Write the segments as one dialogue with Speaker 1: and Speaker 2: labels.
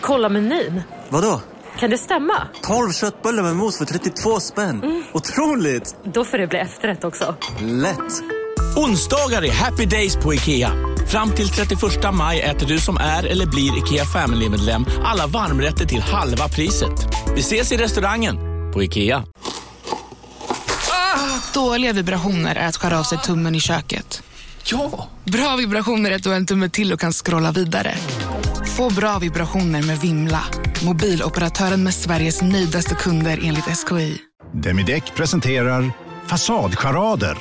Speaker 1: Kolla menyn.
Speaker 2: Vadå?
Speaker 1: Kan det stämma?
Speaker 2: 12 köttbullar med mos för 32 spänn. Otroligt!
Speaker 1: Då får det bli efterrätt också.
Speaker 2: Lätt!
Speaker 3: Onsdagar är happy days på IKEA. Fram till 31 maj äter du som är eller blir IKEA Family-medlem alla varmrätter till halva priset. Vi ses i restaurangen på IKEA.
Speaker 4: Dåliga vibrationer är att skära av sig tummen i köket.
Speaker 3: Ja!
Speaker 4: Bra vibrationer är att du har en tumme till och kan scrolla vidare. Få bra vibrationer med Vimla. Mobiloperatören med Sveriges nöjdaste kunder enligt SKI.
Speaker 5: Demideck presenterar Fasadcharader.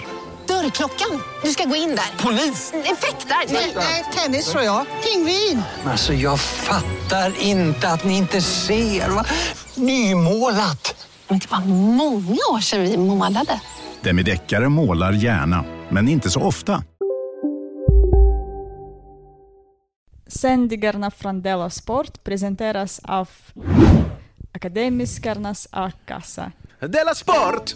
Speaker 6: Dörrklockan. Du ska gå in där. Polis? Effektar? Nej, nej, tennis tror jag. Pingvin.
Speaker 7: Alltså jag fattar inte att ni inte ser. Va? Nymålat!
Speaker 6: Men det var många år sedan vi målade.
Speaker 5: Demideckare målar gärna, men inte så ofta.
Speaker 8: Sändningarna från Della Sport presenteras av Akademiskarnas A-kassa.
Speaker 9: Della Sport!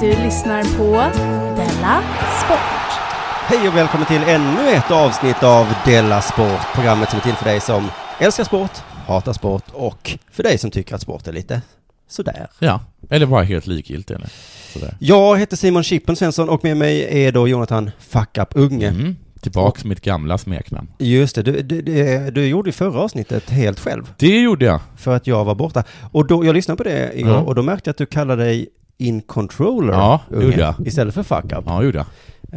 Speaker 10: Du lyssnar på Della Sport.
Speaker 11: Hej och välkommen till ännu ett avsnitt av Della Sport, programmet som är till för dig som älskar sport, hatar sport och för dig som tycker att sport är lite sådär.
Speaker 12: Ja, eller bara helt likgiltig. eller Sådär.
Speaker 11: Jag heter Simon Chippen Svensson och med mig är då Jonathan Fuck Up Unge.
Speaker 12: Mm. Tillbaks till mitt gamla smeknamn.
Speaker 11: Just det, du, du, du, du gjorde ju förra avsnittet helt själv.
Speaker 12: Det gjorde jag.
Speaker 11: För att jag var borta. Och då, jag lyssnade på det igår
Speaker 12: Mm.
Speaker 11: och då märkte jag att du kallade dig In Controller
Speaker 12: Ja, det
Speaker 11: Unge,
Speaker 12: gjorde jag.
Speaker 11: istället för Fuck Up.
Speaker 12: Ja, gjorde jag.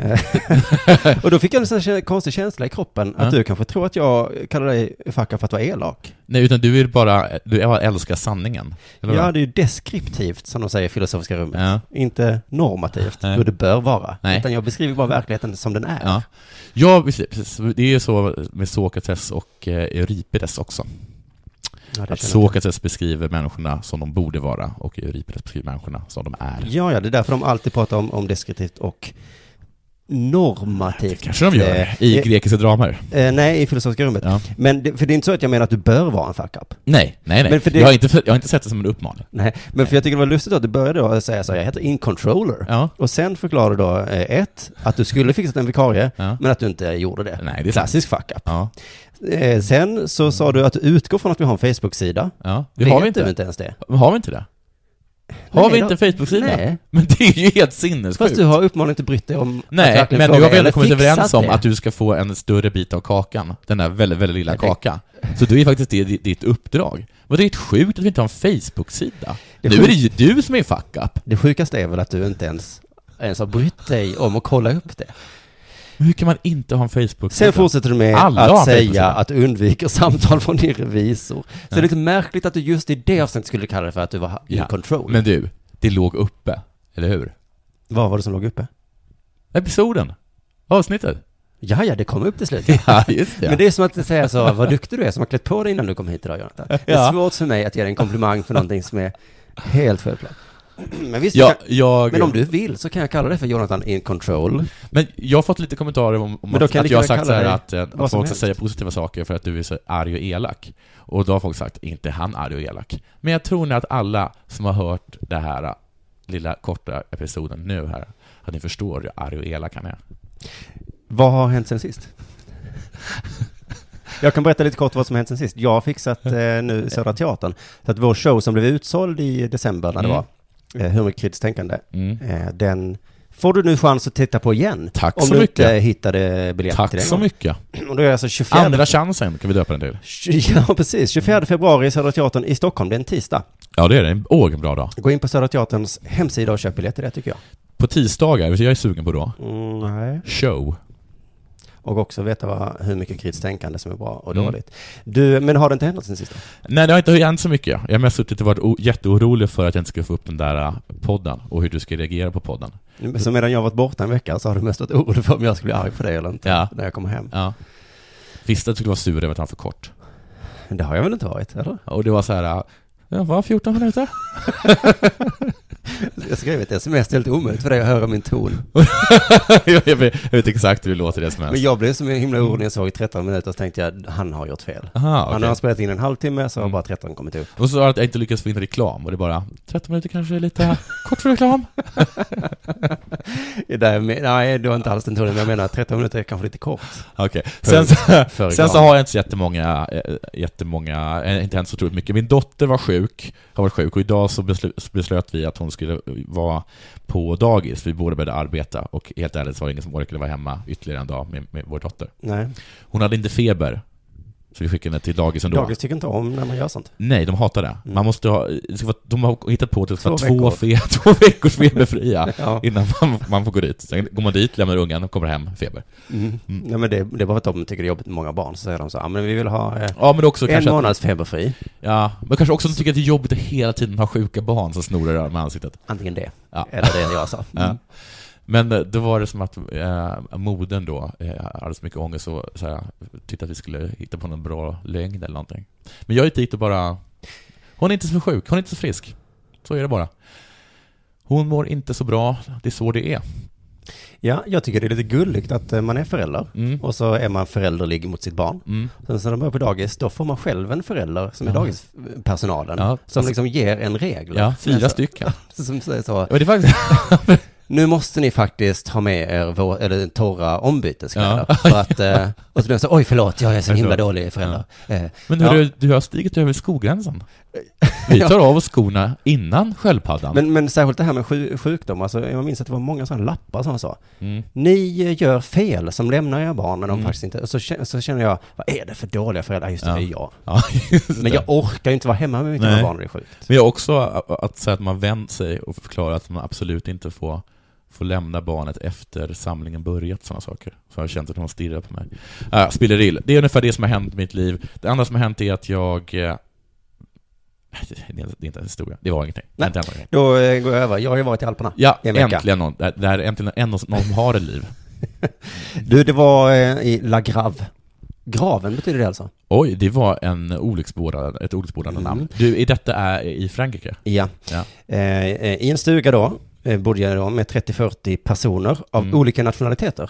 Speaker 11: Eh, och då fick jag en sån här konstig känsla i kroppen att
Speaker 12: Ja.
Speaker 11: du kanske tror att jag kallar dig fuck up för att vara elak.
Speaker 12: Nej, utan du vill bara, du bara älskar sanningen. Eller
Speaker 11: ja,
Speaker 12: vad?
Speaker 11: det är ju deskriptivt som de säger i filosofiska rummet.
Speaker 12: Ja.
Speaker 11: Inte normativt,
Speaker 12: Nej.
Speaker 11: hur det bör vara.
Speaker 12: Nej.
Speaker 11: Utan jag beskriver bara verkligheten som den är.
Speaker 12: Ja. ja, precis. precis. Det är ju så med Sokrates och eh, Euripides också.
Speaker 11: Ja, det
Speaker 12: Att
Speaker 11: känner jag.
Speaker 12: Sokrates beskriver människorna som de borde vara och Euripides beskriver människorna som de är.
Speaker 11: ja, ja, det är därför de alltid pratar om, om deskriptivt och normativt.
Speaker 12: Det kanske de gör
Speaker 11: Eh,
Speaker 12: i
Speaker 11: eh,
Speaker 12: grekiska dramer.
Speaker 11: eh, nej, i filosofiska rummet.
Speaker 12: Ja.
Speaker 11: Men det, för det är inte så att jag menar att du bör vara en fuck up.
Speaker 12: Nej, nej, nej.
Speaker 11: Men för det-
Speaker 12: Jag, har inte, jag har inte sett det som en uppmaning.
Speaker 11: Nej, men för jag tycker det var lustigt att du började då säga så här, jag heter In Controller.
Speaker 12: Ja.
Speaker 11: Och sen förklarade du då, eh, ett, att du skulle fixat en vikarie,
Speaker 12: Ja.
Speaker 11: men att du inte gjorde det.
Speaker 12: Nej, det är sant.
Speaker 11: Klassisk fuck up.
Speaker 12: Ja,
Speaker 11: Eh, sen så sa du att du utgår från att vi har en Facebook-sida.
Speaker 12: ja. Det har vi
Speaker 11: Vet du
Speaker 12: inte.
Speaker 11: inte ens det.
Speaker 12: Har vi inte det? Har
Speaker 11: Nej,
Speaker 12: vi
Speaker 11: då-
Speaker 12: inte en Facebook-sida?
Speaker 11: Nej.
Speaker 12: Men det är ju helt sinnessjukt.
Speaker 11: Fast du har uppenbarligen inte brytt dig om att
Speaker 12: Nej,
Speaker 11: verkligen
Speaker 12: men nu
Speaker 11: fråga,
Speaker 12: har vi ändå
Speaker 11: eller
Speaker 12: kommit
Speaker 11: fixat
Speaker 12: överens om
Speaker 11: det.
Speaker 12: att du ska få en större bit av kakan. Den där väldigt, väldigt lilla
Speaker 11: Nej, det-
Speaker 12: kakan. Så då är faktiskt det di- ditt uppdrag. Vad det är sjukt att vi inte har en Facebook-sida.
Speaker 11: Det
Speaker 12: Nu
Speaker 11: är
Speaker 12: är det
Speaker 11: sjukt.
Speaker 12: ju du som är fuck up.
Speaker 11: Det sjukaste är väl att du inte ens, ens har brytt dig om att kolla upp det.
Speaker 12: Hur kan man inte ha en Facebook-sida?
Speaker 11: Sen fortsätter du med
Speaker 12: Alla har en
Speaker 11: att säga
Speaker 12: Facebook-sida.
Speaker 11: att du undviker samtal från din revisor. Så det är lite märkligt att du just i det avsnittet skulle kalla det för att du var in
Speaker 12: Ja.
Speaker 11: control.
Speaker 12: Men du, det låg uppe, eller hur?
Speaker 11: Vad var det som låg uppe?
Speaker 12: Episoden. Avsnittet.
Speaker 11: Ja, ja, det kom upp till slut.
Speaker 12: Ja, just det.
Speaker 11: Men det är som att säga så, vad duktig du är som har klätt på dig innan du kom hit idag, Jonathan. Det är
Speaker 12: Ja.
Speaker 11: svårt för mig att ge dig en komplimang för någonting som är helt självklart. Men visst,
Speaker 12: Ja,
Speaker 11: jag kan,
Speaker 12: jag...
Speaker 11: men om du vill så kan jag kalla dig för Jonathan in control.
Speaker 12: Men jag har fått lite kommentarer om, om
Speaker 11: Men då
Speaker 12: att,
Speaker 11: kan
Speaker 12: att
Speaker 11: vi
Speaker 12: jag har
Speaker 11: kunna
Speaker 12: sagt så här
Speaker 11: kalla
Speaker 12: att, eh,
Speaker 11: vad som
Speaker 12: att folk ska
Speaker 11: helst.
Speaker 12: säga positiva saker för att du är så arg och elak. Och då har folk sagt, inte han arg och elak. Men jag tror nog att alla som har hört det här eh, lilla korta episoden nu här, att ni förstår hur arg och elak han är.
Speaker 11: Vad har hänt sen sist? Jag kan berätta lite kort vad som hänt sen sist. Jag har fixat eh, nu Södra Teatern. Så att vår show som blev utsåld i december när det
Speaker 12: Mm.
Speaker 11: var, eh, Hur mycket kritiskt tänkande,
Speaker 12: Mm.
Speaker 11: eh, den får du nu chans att titta på igen.
Speaker 12: Tack
Speaker 11: om
Speaker 12: så
Speaker 11: du inte
Speaker 12: mycket.
Speaker 11: hittade biljetter till
Speaker 12: Tack
Speaker 11: den.
Speaker 12: så mycket.
Speaker 11: Och då är det alltså 24
Speaker 12: Andra chansen kan vi döpa den till.
Speaker 11: Ja, precis. 24 februari i Södra Teatern i Stockholm. Det är en tisdag.
Speaker 12: Ja, det är det. Åh, vilken bra dag.
Speaker 11: Gå in på Södra Teaterns hemsida och köp biljetter det tycker jag.
Speaker 12: På tisdagar, vet du vad jag är sugen på då?
Speaker 11: Mm, nej.
Speaker 12: Show.
Speaker 11: Och också veta vad, hur mycket kritiskt tänkande som är bra och
Speaker 12: Mm.
Speaker 11: dåligt. Du, men har det inte hänt något sen sist?
Speaker 12: Nej, det har inte hänt så mycket. Jag har mest suttit och varit o- jätteorolig för att jag inte ska få upp den där eh, podden och hur du ska reagera på podden.
Speaker 11: Så medan jag har varit borta en vecka så har du mest varit orolig för om jag skulle bli arg på dig eller inte
Speaker 12: Ja.
Speaker 11: när jag kommer hem.
Speaker 12: Ja. Visste att du skulle vara sur över att han var för kort.
Speaker 11: Men det har jag väl inte varit, eller?
Speaker 12: Och det var så här, ja, var 14 minuter?
Speaker 11: Jag skrev ett sms, det är helt omöjligt för dig att höra min ton.
Speaker 12: jag, vet, jag vet exakt hur det låter det som helst.
Speaker 11: Men jag blev så himla orolig när jag såg 13 minuter så tänkte jag, han har gjort fel.
Speaker 12: Aha,
Speaker 11: Han
Speaker 12: okej. Mm.
Speaker 11: har spelat in en halvtimme så har bara 13 kommit upp.
Speaker 12: Och så sa han att jag inte lyckats få in reklam, och det är bara 13 minuter kanske är lite kort för reklam.
Speaker 11: Det där, med- nej, du har inte alls den tonen, men jag menar 13 minuter är kanske lite kort.
Speaker 12: Okej. Sen,
Speaker 11: För- för
Speaker 12: sen så
Speaker 11: reklam.
Speaker 12: har jag inte så jättemånga, eh, jättemånga, eh, inte hänt så otroligt mycket. Min dotter var sjuk, har varit sjuk, och idag så beslu- så beslöt vi att hon skulle vara på dagis, vi båda började arbeta, och helt ärligt så var det ingen som orkade vara hemma ytterligare en dag med, med vår dotter.
Speaker 11: Nej.
Speaker 12: Hon hade inte feber, så vi skickade henne till dagis ändå.
Speaker 11: Dagis tycker inte om när man gör sånt.
Speaker 12: Nej, de hatar det. Man måste ha, det ska vara, de har hittat på att det ska
Speaker 11: Två
Speaker 12: vara två, fe,
Speaker 11: veckor.
Speaker 12: två veckors feberfria
Speaker 11: Ja.
Speaker 12: innan man, man får gå dit. Sen går man dit, lämnar ungen och kommer hem, feber.
Speaker 11: Mm. Nej, men det, det är bara att de tycker det är jobbigt med många barn, så säger de så, ja men vi vill ha eh,
Speaker 12: Ja, men också
Speaker 11: en
Speaker 12: kanske att-
Speaker 11: månads feberfri.
Speaker 12: Ja, men kanske också de tycker att det är jobbigt att hela tiden ha sjuka barn som snorar med ansiktet.
Speaker 11: Antingen det,
Speaker 12: Ja.
Speaker 11: eller det jag sa.
Speaker 12: Ja. Men eh, då var det som att eh, moden då eh, hade så mycket ångest och så här, tyckte att vi skulle hitta på någon bra lögn eller någonting. Men jag gick dit och bara, hon är inte så sjuk, hon är inte så frisk. Så är det bara. Hon mår inte så bra, det är så det är.
Speaker 11: Ja, jag tycker det är lite gulligt att eh, man är förälder
Speaker 12: Mm.
Speaker 11: och så är man förälderlig mot sitt barn.
Speaker 12: Mm.
Speaker 11: Sen så när de börjar på dagis, då får man själv en förälder som är
Speaker 12: Ja.
Speaker 11: dagispersonalen,
Speaker 12: Ja,
Speaker 11: som
Speaker 12: alltså-
Speaker 11: liksom ger en regel.
Speaker 12: Ja,
Speaker 11: Men
Speaker 12: fyra
Speaker 11: så-
Speaker 12: stycken.
Speaker 11: Som säger så,
Speaker 12: Men det är faktiskt...
Speaker 11: nu måste ni faktiskt ha med er vår, eller torra ombyteskläder. För att, eh, och så blir de så, oj förlåt, jag är så
Speaker 12: Jag
Speaker 11: himla
Speaker 12: förlåt.
Speaker 11: dålig förälder. Eh,
Speaker 12: Men hur
Speaker 11: ja.
Speaker 12: du, du har stigit över skogränsen. Vi tar av oss skorna innan sköldpaddan.
Speaker 11: Men, men särskilt det här med sju- sjukdom, alltså, jag minns att det var många sådana lappar som sa,
Speaker 12: Mm.
Speaker 11: ni eh, gör fel som lämnar era barn när de faktiskt inte, och så, kä- så känner jag, vad är det för dåliga föräldrar? Ja, Just det, det är jag.
Speaker 12: Ja, just det.
Speaker 11: Men jag orkar ju inte vara hemma med mitt
Speaker 12: Nej.
Speaker 11: barn när det är sjukt.
Speaker 12: Men jag också att, att säga att man vänt sig och förklarar att man absolut inte får, får lämna barnet efter samlingen börjat, sådana saker. Så har jag känt att de stirrar på mig. Äh, spillerill. Det är ungefär det som har hänt i mitt liv. Det andra som har hänt är att jag... eh, Det är inte en historia. Det var ingenting.
Speaker 11: Nej.
Speaker 12: Inte en historia.
Speaker 11: Då eh, går jag över, jag har ju varit i Alperna
Speaker 12: Ja,
Speaker 11: i en vecka.
Speaker 12: äntligen någon. Det här är äntligen en, någon som har ett liv.
Speaker 11: Du, det var eh, i La Grave. Graven betyder det alltså?
Speaker 12: Oj, det var en olycksbådande, ett olycksbådande
Speaker 11: Mm.
Speaker 12: namn. Du, i detta är i Frankrike?
Speaker 11: Ja.
Speaker 12: Ja.
Speaker 11: Eh, eh, I en stuga då, eh, bodde jag då med 30-40 personer av
Speaker 12: Mm.
Speaker 11: olika nationaliteter.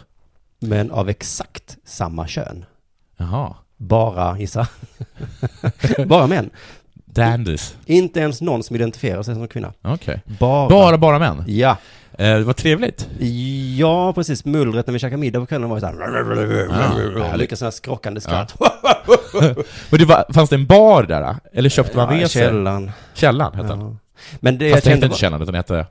Speaker 11: Men av exakt samma kön.
Speaker 12: Jaha.
Speaker 11: Bara, gissa. bara män.
Speaker 12: Dandys.
Speaker 11: Inte ens någon som identifierar sig som kvinna.
Speaker 12: Okej.
Speaker 11: Bara.
Speaker 12: Bara, bara män?
Speaker 11: Ja.
Speaker 12: Eh, det var trevligt.
Speaker 11: Ja, precis. Mullret när vi käkade middag på kvällen var ju såhär...
Speaker 12: Ah, härligt.
Speaker 11: mycket sådana skrockande skratt.
Speaker 12: Men det var, fanns det en bar där? då? Eller köpte man med sig?
Speaker 11: Källan.
Speaker 12: Källan hette den.
Speaker 11: Ja. Men det jag
Speaker 12: Fast den hette
Speaker 11: tänkte
Speaker 12: inte
Speaker 11: på,
Speaker 12: Källan, utan den hette...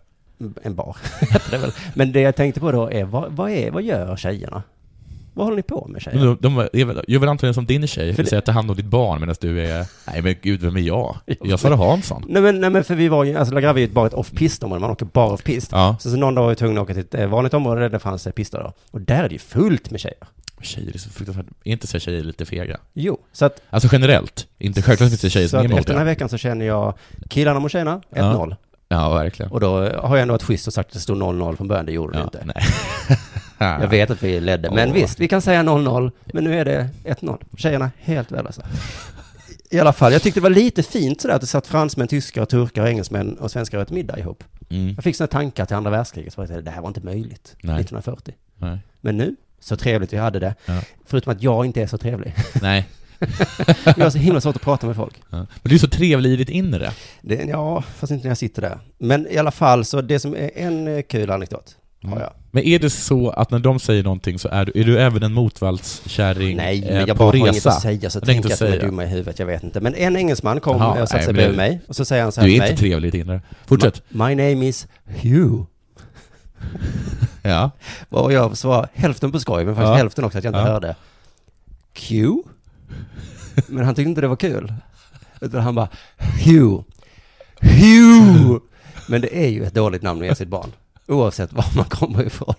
Speaker 11: en bar. Hette det väl. Men det jag tänkte på då är vad, vad är, vad gör tjejerna? Vad håller ni på med tjejer?
Speaker 12: De, de är väl- gör väl antagligen som din tjej,
Speaker 11: För
Speaker 12: för
Speaker 11: det-
Speaker 12: säger att ta hand om ditt barn medan du är... Nej men gud, vem är jag? Jag Sara Hansson.
Speaker 11: Nej men, nej men för vi var ju, alltså La Grave är ju bara ett off-pist område, man åker bara off-pist.
Speaker 12: Ja.
Speaker 11: Så, så någon dag var vi tvungna att åka till ett eh, vanligt område där det fanns eh, pister då. Och där är det ju fullt med tjejer.
Speaker 12: Tjejer är så fruktansvärt... Är inte så tjejer lite fega?
Speaker 11: Jo, så att,
Speaker 12: Alltså generellt. Inte självklart finns det tjejer
Speaker 11: så
Speaker 12: som är
Speaker 11: att
Speaker 12: emot
Speaker 11: efter den här
Speaker 12: det.
Speaker 11: veckan så känner jag killarna mot tjejerna, 1-0.
Speaker 12: Ja. Ja, verkligen.
Speaker 11: Och då eh, har jag ändå varit schysst och sagt att det stod 0-0 från början, det gjorde det
Speaker 12: Ja,
Speaker 11: inte.
Speaker 12: nej.
Speaker 11: Jag vet att vi ledde, men
Speaker 12: Åh.
Speaker 11: visst, vi kan säga 0-0, men nu är det 1-0. Tjejerna helt värdelösa. I alla fall, jag tyckte det var lite fint sådär att det satt fransmän, tyskar, turkar, engelsmän och svenskar åt middag ihop.
Speaker 12: Mm.
Speaker 11: Jag fick sådana tankar till andra världskriget, så jag tänkte, det här var inte möjligt
Speaker 12: Nej.
Speaker 11: 1940.
Speaker 12: Nej.
Speaker 11: Men nu, så trevligt vi hade det.
Speaker 12: Ja.
Speaker 11: Förutom att jag inte är så trevlig.
Speaker 12: Nej.
Speaker 11: Jag har så himla svårt att prata med folk.
Speaker 12: Ja. Men du är så trevlig i ditt inre.
Speaker 11: Det, ja, fast inte när jag sitter där. Men i alla fall, så det som är en eh, kul anekdot har jag.
Speaker 12: Mm. Men är det så att när de säger någonting så är du, är du även en motvallskärring
Speaker 11: Nej,
Speaker 12: eh,
Speaker 11: men jag
Speaker 12: på
Speaker 11: bara har inget
Speaker 12: resa?
Speaker 11: att säga så
Speaker 12: Jag
Speaker 11: tänker
Speaker 12: tänkte
Speaker 11: jag att de är
Speaker 12: säga.
Speaker 11: dumma i huvudet, jag vet inte. Men en engelsman kom
Speaker 12: Jaha,
Speaker 11: och satte
Speaker 12: nej,
Speaker 11: sig
Speaker 12: men
Speaker 11: bredvid
Speaker 12: det-
Speaker 11: mig och så säger han så här
Speaker 12: Du
Speaker 11: till
Speaker 12: är
Speaker 11: mig.
Speaker 12: inte trevlig i ditt inre. Fortsätt.
Speaker 11: My name is Hugh.
Speaker 12: Ja.
Speaker 11: Och jag svarade hälften på skoj, men faktiskt
Speaker 12: Ja.
Speaker 11: hälften också att jag inte
Speaker 12: Ja.
Speaker 11: hörde. Q? Men han tyckte inte det var kul. Utan han bara Hugh. Hugh! Men det är ju ett dåligt namn att ge sitt barn. Oavsett var man kommer ifrån.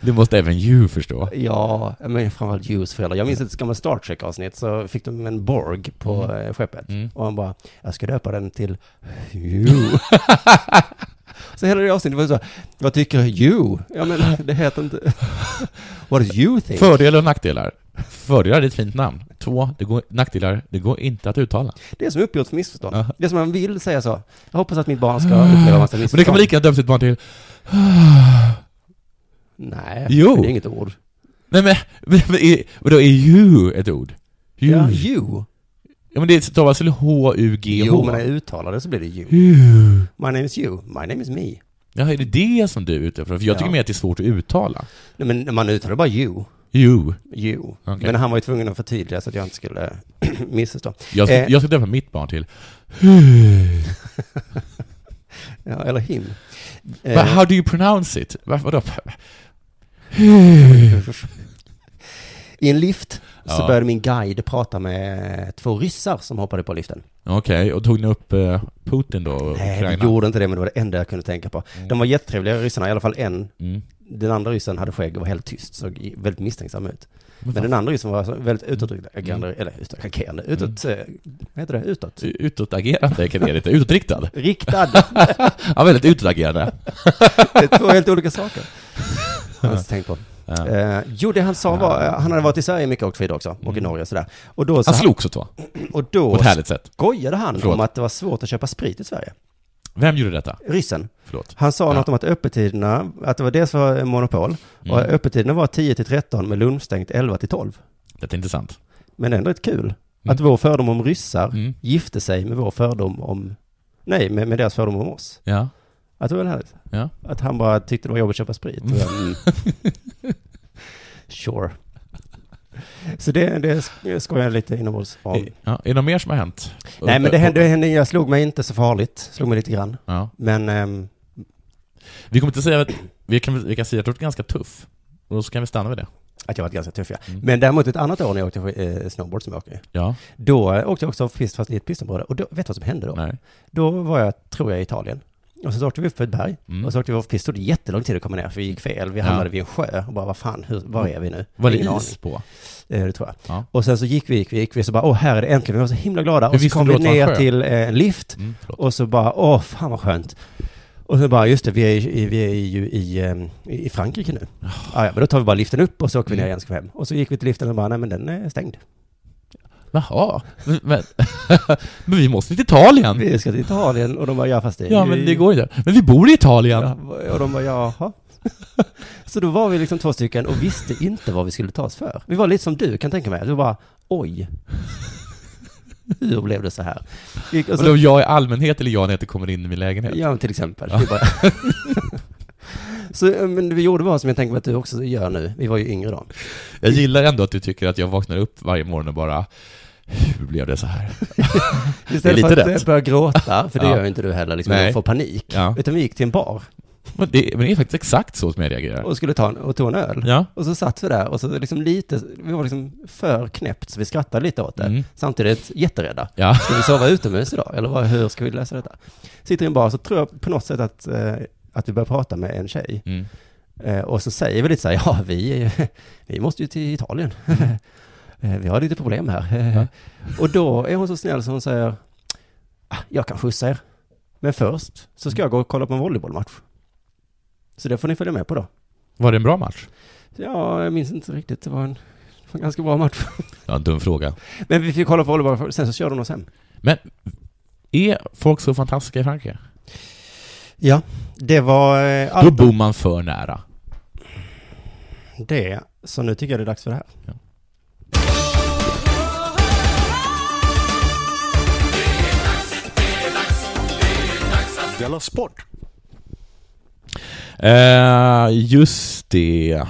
Speaker 12: Det måste även you förstå.
Speaker 11: Ja, men framförallt Hughes föräldrar. Jag minns ett gammalt Star Trek-avsnitt, så fick de en Borg på eh, skeppet.
Speaker 12: Mm. Mm.
Speaker 11: Och han bara, jag ska döpa den till Hugh. så hela det avsnittet var så, här, vad tycker Hugh? Ja men det heter inte... What do you think?
Speaker 12: Fördelar och nackdelar. Fördelar är ett fint namn. Två, det går, nackdelar, det går inte att uttala.
Speaker 11: Det är som uppgjort för missförstånd. Det är som man vill säga så. Jag hoppas att mitt barn ska uppleva massa
Speaker 12: Ah. Men
Speaker 11: missförstånd.
Speaker 12: det kan man lika gärna döpa sitt barn till...
Speaker 11: Nej,
Speaker 12: Jo.
Speaker 11: det är inget ord.
Speaker 12: Nej men, men, men är- vadå, är you ett ord? You.
Speaker 11: Ja, you.
Speaker 12: Ja, men det stavas väl H-U-G-H?
Speaker 11: Jo, men när jag uttalar det så blir det you. My name is you. My name is me.
Speaker 12: Ja, är det det som du är ute efter? För jag
Speaker 11: Ja.
Speaker 12: tycker mer att det är svårt att uttala.
Speaker 11: Nej, men när man uttalar bara you.
Speaker 12: You.
Speaker 11: You.
Speaker 12: Okej.
Speaker 11: Men han var ju tvungen att förtydliga så att jag inte skulle missförstå.
Speaker 12: Jag ska,
Speaker 11: Eh.
Speaker 12: jag ska döpa mitt barn till...
Speaker 11: Ja, eller him. Eh.
Speaker 12: But how do you pronounce it? Va- Vadå?
Speaker 11: I en lift så
Speaker 12: Ja.
Speaker 11: började min guide prata med två ryssar som hoppade på liften.
Speaker 12: Okej, och tog ni upp eh, Putin då? och
Speaker 11: Nej,
Speaker 12: Ukraina?
Speaker 11: de gjorde inte det, men det var det enda jag kunde tänka på. De var jättetrevliga ryssarna, i alla fall en.
Speaker 12: Mm.
Speaker 11: Den andra ryssen hade skägg och var helt tyst, såg i- väldigt misstänksam ut. Men den andra ryssen var alltså väldigt
Speaker 12: Mm.
Speaker 11: utåtagerande, eller utåtagerande, utåt, eh, vad heter det, utåt?
Speaker 12: Utåtagerande kan det lite. Utåtriktad.
Speaker 11: Riktad.
Speaker 12: Ja, väldigt utåtagerande.
Speaker 11: Det är två helt olika saker. Jag har inte tänkt på. Eh, jo, det han sa var, eh, han hade varit i Sverige mycket och åkt skidor också, och i Norge och sådär. Och då, så
Speaker 12: Mm. Han slogs åt va?
Speaker 11: och
Speaker 12: På
Speaker 11: då
Speaker 12: ett härligt sätt.
Speaker 11: skojade han
Speaker 12: Förlåt.
Speaker 11: om att det var svårt att köpa sprit i Sverige.
Speaker 12: Vem gjorde detta?
Speaker 11: Ryssen.
Speaker 12: Förlåt.
Speaker 11: Han sa
Speaker 12: Ja.
Speaker 11: något om att öppettiderna, att det var dels var monopol,
Speaker 12: Mm.
Speaker 11: och öppettiderna var 10 till 13 med lunchstängt 11 till 12.
Speaker 12: Detta är intressant.
Speaker 11: Men ändå rätt kul. Att vår fördom om ryssar
Speaker 12: Mm.
Speaker 11: gifte sig med vår fördom om, nej, med, med deras fördom om oss.
Speaker 12: Ja.
Speaker 11: Att det var väl härligt.
Speaker 12: Ja.
Speaker 11: Att han bara tyckte det var jobbigt att köpa sprit. Och jag, mm. Sure. Så det, det sk- skojar jag lite inombords om.
Speaker 12: ja. Är det något mer som har hänt?
Speaker 11: Nej, men det hände, det hände, jag slog mig inte så farligt. Slog mig lite grann.
Speaker 12: Ja.
Speaker 11: Men ehm,
Speaker 12: Vi kommer inte säga att... Vi kan, vi kan säga att du har varit ganska tuff. Och så kan vi stanna vid det.
Speaker 11: att jag varit ganska tuff, ja.
Speaker 12: Mm.
Speaker 11: Men däremot ett annat år när jag åkte sk- eh, snowboard som jag åker
Speaker 12: Ja.
Speaker 11: Då eh, åkte jag också pist fast i ett pistområde. Och då, vet du vad som hände då?
Speaker 12: Nej.
Speaker 11: Då var jag, tror jag, i Italien. Och så åkte vi upp för ett berg.
Speaker 12: Mm.
Speaker 11: Och så åkte vi off-pist. Det tog jättelång tid att komma ner, för vi gick fel. Vi hamnade
Speaker 12: Ja. Mm.
Speaker 11: vid en sjö och bara, vad fan, hur, var är vi nu?
Speaker 12: Var det
Speaker 11: Ingen
Speaker 12: is på?
Speaker 11: aning. Eh, Det tror jag.
Speaker 12: Ja.
Speaker 11: Och sen så gick vi, gick vi, gick vi, så bara, åh, här är det äntligen. Vi var så himla glada.
Speaker 12: Hur
Speaker 11: Och så
Speaker 12: visste
Speaker 11: kom
Speaker 12: du
Speaker 11: vi
Speaker 12: att det var en
Speaker 11: ner
Speaker 12: sjö?
Speaker 11: till eh, en lift.
Speaker 12: Mm, förlåt.
Speaker 11: Och så bara, åh, fan vad skönt. Och så bara, just det, vi är, ju- i- vi är ju i, ehm, i i Frankrike nu. Ah, ja, men då tar vi bara liften upp och så åker vi ner
Speaker 12: Mm.
Speaker 11: igen och ska hem. Och så gick vi till liften och bara, nej men den är stängd.
Speaker 12: Jaha. Men, men, men vi måste till Italien.
Speaker 11: Vi ska till Italien och de bara, ja fast det är
Speaker 12: Ja,
Speaker 11: ju
Speaker 12: men
Speaker 11: i-
Speaker 12: det går ju inte. Men vi bor i Italien.
Speaker 11: Ja, och de bara, jaha. Så då var vi liksom två stycken och visste inte vad vi skulle ta oss för. Vi var lite som du, kan tänka mig. Du bara, oj. Hur blev det så här? Vi gick- och
Speaker 12: Och
Speaker 11: så-
Speaker 12: då Alltså, jag i allmänhet eller jag när jag inte kommer in i min lägenhet?
Speaker 11: Ja, till exempel. Vi bara... så eh, men vi gjorde vad som jag tänker mig att du också gör nu. Vi var ju yngre då.
Speaker 12: Jag gillar ändå att du tycker att jag vaknar upp varje morgon och bara Hur blev det så här?
Speaker 11: Istället
Speaker 12: lite
Speaker 11: för att
Speaker 12: rätt.
Speaker 11: eh, börja gråta, för det
Speaker 12: Ja.
Speaker 11: gör ju inte du heller, liksom,
Speaker 12: Nej.
Speaker 11: och få panik.
Speaker 12: Ja.
Speaker 11: Utan vi gick till en bar
Speaker 12: Men det, men det är faktiskt exakt så som jag reagerar.
Speaker 11: och skulle ta en, och tog en öl.
Speaker 12: Ja.
Speaker 11: Och så satt vi där och så liksom lite, vi var liksom för knäppt så vi skrattade lite åt det.
Speaker 12: Mm.
Speaker 11: Samtidigt jätterädda.
Speaker 12: Ja.
Speaker 11: Ska vi sova utomhus idag? Eller vad, hur ska vi lösa detta? Sitter i en bar så tror jag på något sätt att, eh, att vi börjar prata med en tjej.
Speaker 12: Mm.
Speaker 11: Eh, och så säger vi lite så här, ja vi, är ju- vi måste ju till Italien. Eh, vi har lite problem här.
Speaker 12: Ja.
Speaker 11: och då är hon så snäll så hon säger, "Ah, jag kan skjutsa er. Men först så ska jag gå och kolla på en volleybollmatch. Så det får ni följa med på då.
Speaker 12: Var det en bra match?
Speaker 11: Ja, jag minns inte riktigt. Det var en, det var en ganska bra match.
Speaker 12: Ja, en dum fråga.
Speaker 11: Men vi fick kolla på volleyboll, för- sen så körde de oss hem.
Speaker 12: Men är folk så fantastiska i Frankrike?
Speaker 11: Ja, det var eh,
Speaker 12: Då
Speaker 11: allt
Speaker 12: bor man för nära.
Speaker 11: om det. Så nu tycker jag det är dags för det här.
Speaker 2: Della Sport.
Speaker 12: Eh, just det.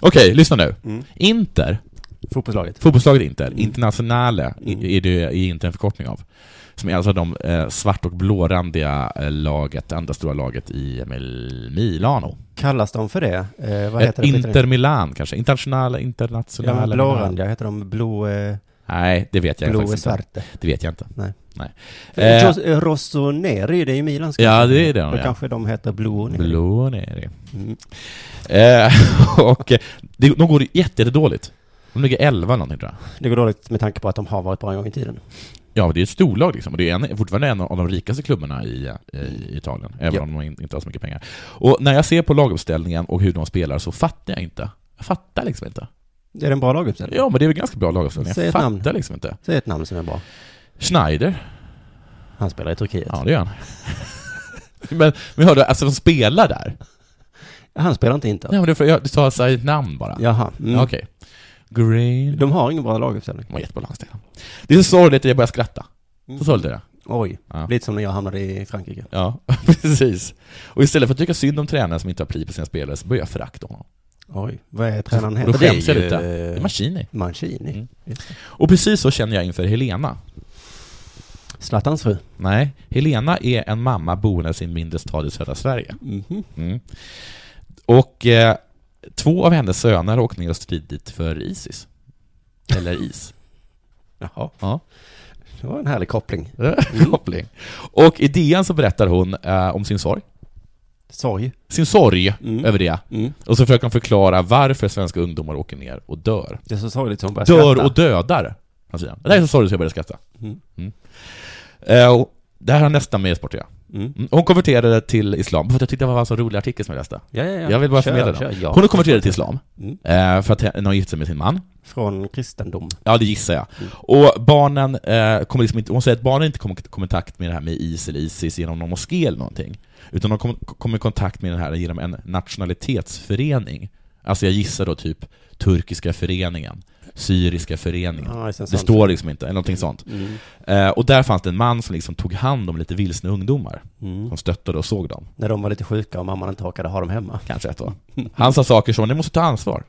Speaker 12: Okej, lyssna nu.
Speaker 11: Mm.
Speaker 12: Inter
Speaker 11: Fotbollslaget.
Speaker 12: Fotbollslaget
Speaker 11: Mm.
Speaker 12: Inter, Internationale, i- är det är inte en förkortning av. Som är alltså de eh, svart och blårandiga eh, laget, det andra stora laget i Mil- Milano.
Speaker 11: Kallas de för det? Eh, vad
Speaker 12: Eh,
Speaker 11: heter det?
Speaker 12: Inter Milan kanske? Internationale,
Speaker 11: Ja, men
Speaker 12: internationale. Milan.
Speaker 11: blårandiga, heter de blå... Eh,
Speaker 12: Nej, det vet jag
Speaker 11: blå
Speaker 12: faktiskt inte.
Speaker 11: svarte?
Speaker 12: Det vet jag inte.
Speaker 11: Nej.
Speaker 12: Nej.
Speaker 11: Eh.
Speaker 12: Eh,
Speaker 11: Rossoneri, det är ju Milans
Speaker 12: Ja, det är det
Speaker 11: Då
Speaker 12: de ja.
Speaker 11: kanske de heter blå Neri.
Speaker 12: Blå nere.
Speaker 11: Mm.
Speaker 12: Eh, och eh, det, de går jätte- jättedåligt. De ligger 11 någonting tror jag.
Speaker 11: Det går dåligt med tanke på att de har varit bra en gång i tiden.
Speaker 12: Ja, men det är ett storlag liksom, och det är en, fortfarande en av de rikaste klubbarna i, i Italien, även
Speaker 11: Ja.
Speaker 12: om de in- inte har så mycket pengar. Och när jag ser på laguppställningen och hur de spelar så fattar jag inte. Jag fattar liksom inte.
Speaker 11: Är det en bra laguppställning?
Speaker 12: Ja, men det är väl ganska bra laguppställning.
Speaker 11: Säg
Speaker 12: Jag
Speaker 11: ett
Speaker 12: fattar
Speaker 11: namn.
Speaker 12: liksom inte.
Speaker 11: Säg ett namn som är bra.
Speaker 12: Schneider,
Speaker 11: Han spelar i Turkiet.
Speaker 12: ja det gör han. men, men hörde, alltså de spelar där?
Speaker 11: Han spelar inte Inter.
Speaker 12: Nej, men du, får- jag, du sa så här ett namn bara.
Speaker 11: Jaha. Mm.
Speaker 12: Ja, Okej. Green.
Speaker 11: De har ingen bra laguppställning.
Speaker 12: De var jättebra lagställning. Det är så sorgligt att jag börjar skratta.
Speaker 11: Mm.
Speaker 12: Så sorgligt är det.
Speaker 11: Oj,
Speaker 12: Ja.
Speaker 11: lite som när jag hamnade i Frankrike.
Speaker 12: Ja, precis. Och istället för att tycka synd om tränaren som inte har pli på sina spelare så börjar jag förakta honom.
Speaker 11: Oj, vad är tränaren heter?
Speaker 12: Då skäms jag
Speaker 11: Det är
Speaker 12: lite.
Speaker 11: ju,
Speaker 12: Det
Speaker 11: eh,
Speaker 12: är Mancini.
Speaker 11: Mancini.
Speaker 12: Mm.
Speaker 11: Just det.
Speaker 12: Och precis så känner jag inför Helena.
Speaker 11: Zlatans fru.
Speaker 12: Nej, Helena är en mamma boende i sin mindre stad i södra Sverige.
Speaker 11: Mhm.
Speaker 12: Mm. Och eh, två av hennes söner har åkt ner och stridit för Isis. Eller is.
Speaker 11: Jaha.
Speaker 12: Ja.
Speaker 11: Det var en härlig koppling.
Speaker 12: Koppling. Och i DN så berättar hon eh, om sin sorg.
Speaker 11: Sorg.
Speaker 12: Sin sorg
Speaker 11: Mm.
Speaker 12: över det.
Speaker 11: Mm.
Speaker 12: Och så försöker hon förklara varför svenska ungdomar åker ner och dör.
Speaker 11: Det är så sorgligt som hon börjar
Speaker 12: Dör
Speaker 11: skratta.
Speaker 12: och dödar. Han säger. Det här är så sorgligt så jag började skratta.
Speaker 11: Mm.
Speaker 12: Mm. Eh, och det här har nästan med e-sport ja.
Speaker 11: Mm.
Speaker 12: Mm. Hon konverterade till islam, för att jag tyckte det var en så rolig artikel som jag läste.
Speaker 11: Ja, ja, ja.
Speaker 12: Jag vill bara
Speaker 11: Kör,
Speaker 12: förmedla den.
Speaker 11: kör, ja.
Speaker 12: Hon har konverterat till islam,
Speaker 11: Mm.
Speaker 12: eh, för att hen- hon gifte sig med sin man.
Speaker 11: Från kristendom.
Speaker 12: Ja, det gissar jag.
Speaker 11: Mm.
Speaker 12: Och barnen eh, kommer liksom inte, hon säger att barnen inte kommer kom i kontakt med det här med is eller Isis genom någon moské eller någonting. Utan de kommer kom i kontakt med det här genom en nationalitetsförening. Alltså jag gissar då typ Turkiska föreningen, Syriska föreningen.
Speaker 11: Ja, just en
Speaker 12: det
Speaker 11: sån
Speaker 12: står liksom inte, eller någonting sånt.
Speaker 11: Mm.
Speaker 12: Eh, och där fanns det en man som liksom tog hand om lite vilsna ungdomar.
Speaker 11: Mm.
Speaker 12: Som stöttade och såg dem.
Speaker 11: När de var lite sjuka och mamman inte orkade ha dem hemma.
Speaker 12: Kanske ett år. Han sa saker som, ni måste ta ansvar.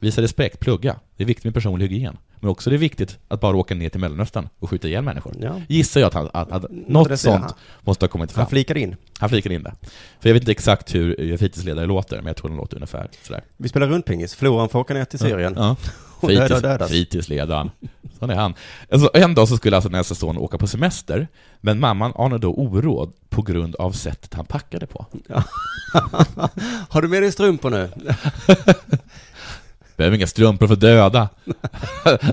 Speaker 12: Visa respekt, plugga. Det är viktigt med personlig hygien. Men också det är viktigt att bara åka ner till Mellanöstern och skjuta ihjäl människor.
Speaker 11: Ja. Mm,
Speaker 12: Gissar jag att, han, att, att något
Speaker 11: Intressant.
Speaker 12: sånt måste ha kommit fram.
Speaker 11: Han flikade in.
Speaker 12: Han flikade in det. För jag vet inte exakt hur eh, fritidsledare låter, men jag tror den låter ungefär sådär.
Speaker 11: Vi spelar rundpingis. Floran får åka ner till Syrien.
Speaker 12: Ja.
Speaker 11: Och döda och
Speaker 12: Fritids,
Speaker 11: dödas.
Speaker 12: fritidsledaren. Sån är han. Alltså, en dag så skulle alltså den här son åka på semester, men mamman anade då oråd på grund av sättet han packade på.
Speaker 11: Har du med dig strumpor nu?
Speaker 12: Behöver inga strumpor för döda.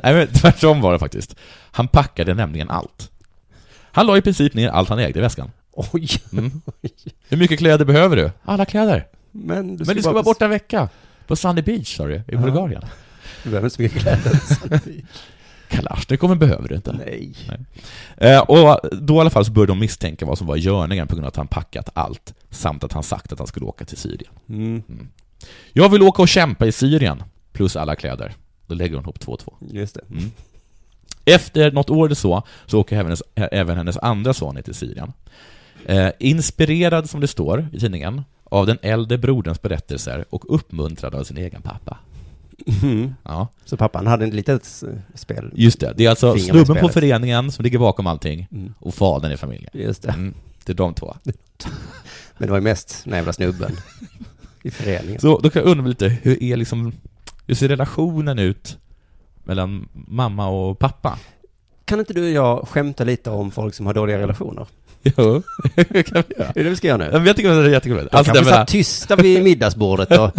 Speaker 12: Nej, men tvärtom var det faktiskt. Han packade nämligen allt. Han la i princip ner allt han ägde i väskan.
Speaker 11: Oj.
Speaker 12: Mm. Hur mycket kläder behöver du? Alla kläder.
Speaker 11: Men du
Speaker 12: Men du ska vara borta en vecka. På Sunny Beach, sa du, i Bulgarien.
Speaker 11: Du behöver inte så mycket kläder.
Speaker 12: Kalasjnikoven behöver du inte.
Speaker 11: Nej.
Speaker 12: Eh, och då i alla fall så började de misstänka vad som var i görningen på grund av att han packat allt, samt att han sagt att han skulle åka till Syrien.
Speaker 11: Mm.
Speaker 12: Jag vill åka och kämpa i Syrien, plus alla kläder. Då lägger hon ihop två och två.
Speaker 11: Just det.
Speaker 12: Mm. Efter något år eller så, så åker även hennes, ä- även hennes andra son ner till Syrien. Eh, inspirerad, som det står i tidningen, av den äldre broderns berättelser och uppmuntrad av sin egen pappa.
Speaker 11: Mm.
Speaker 12: Ja,
Speaker 11: Så pappan hade ett litet s- spel.
Speaker 12: just det. Det är alltså
Speaker 11: Finger med
Speaker 12: snubben på
Speaker 11: spelet. Mm.
Speaker 12: föreningen som ligger bakom allting och fadern i familjen.
Speaker 11: Just det.
Speaker 12: Mm, det är de två.
Speaker 11: Men det var ju mest den här jävla snubben i föreningen.
Speaker 12: Så då kan jag undra lite, hur är liksom, hur ser relationen ut mellan mamma och pappa?
Speaker 11: Kan inte du och jag skämta lite om folk som har dåliga relationer?
Speaker 12: Jo, det kan vi göra.
Speaker 11: Är det det vi ska göra nu?
Speaker 12: Ja, men Jag tycker det är jättekul.
Speaker 11: De
Speaker 12: Alltså,
Speaker 11: kanske
Speaker 12: jag menar-
Speaker 11: satt tysta vid middagsbordet och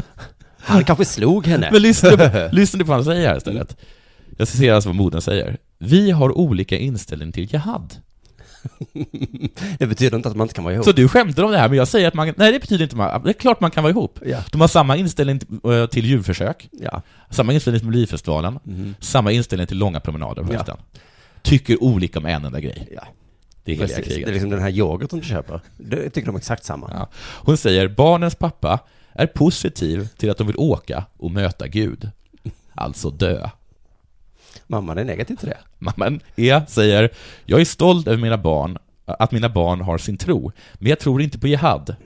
Speaker 11: han kanske slog henne.
Speaker 12: men lyssna, lyssna på vad han säger här istället. Jag citerar alltså vad modern säger. Vi har olika inställning till jihad.
Speaker 11: Det betyder inte att man inte kan vara ihop.
Speaker 12: Så du skämtar om det här, men jag säger att man... Nej, det betyder inte man... Det är klart man kan vara ihop.
Speaker 11: Ja.
Speaker 12: De har samma inställning t- eh, till djurförsök,
Speaker 11: Ja. Mhm.
Speaker 12: samma inställning till Melodifestivalen, samma inställning till långa promenader på
Speaker 11: Ja.
Speaker 12: hösten. Tycker olika om en enda grej.
Speaker 11: ja.
Speaker 12: Det är heliga
Speaker 11: Precis. Det
Speaker 12: kriget.
Speaker 11: är liksom den här yoghurten du köper. Det tycker de är exakt samma.
Speaker 12: Ja. Hon säger barnens pappa är positiv till att de vill åka och möta Gud. Alltså dö.
Speaker 11: Mamman är negativ till det.
Speaker 12: Mamman E säger jag är stolt över mina barn, att mina barn har sin tro, men jag tror inte på jihad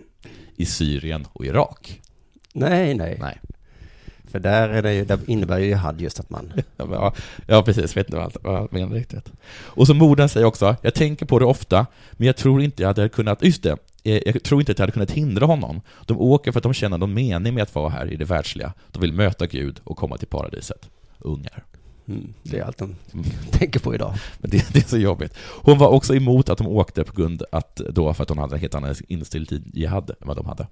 Speaker 12: i Syrien och Irak.
Speaker 11: Nej, nej.
Speaker 12: Nej.
Speaker 11: För där, är det ju, där innebär ju jihad just att man...
Speaker 12: Ja, men, ja, Ja, precis. Vet inte vad han- vad han menar riktigt. Och så modern säger också, jag tänker på det ofta, men jag tror inte jag hade kunnat, just det, eh, jag tror inte att jag hade kunnat hindra honom. De åker för att de känner någon mening med att vara här i det världsliga. De vill möta Gud och komma till paradiset. Ungar.
Speaker 11: Mm, det är allt de tänker på idag.
Speaker 12: Men det, det är så jobbigt. Hon var också emot att de åkte på grund att då för att hon hade en helt annan inställning till jihad än vad de hade.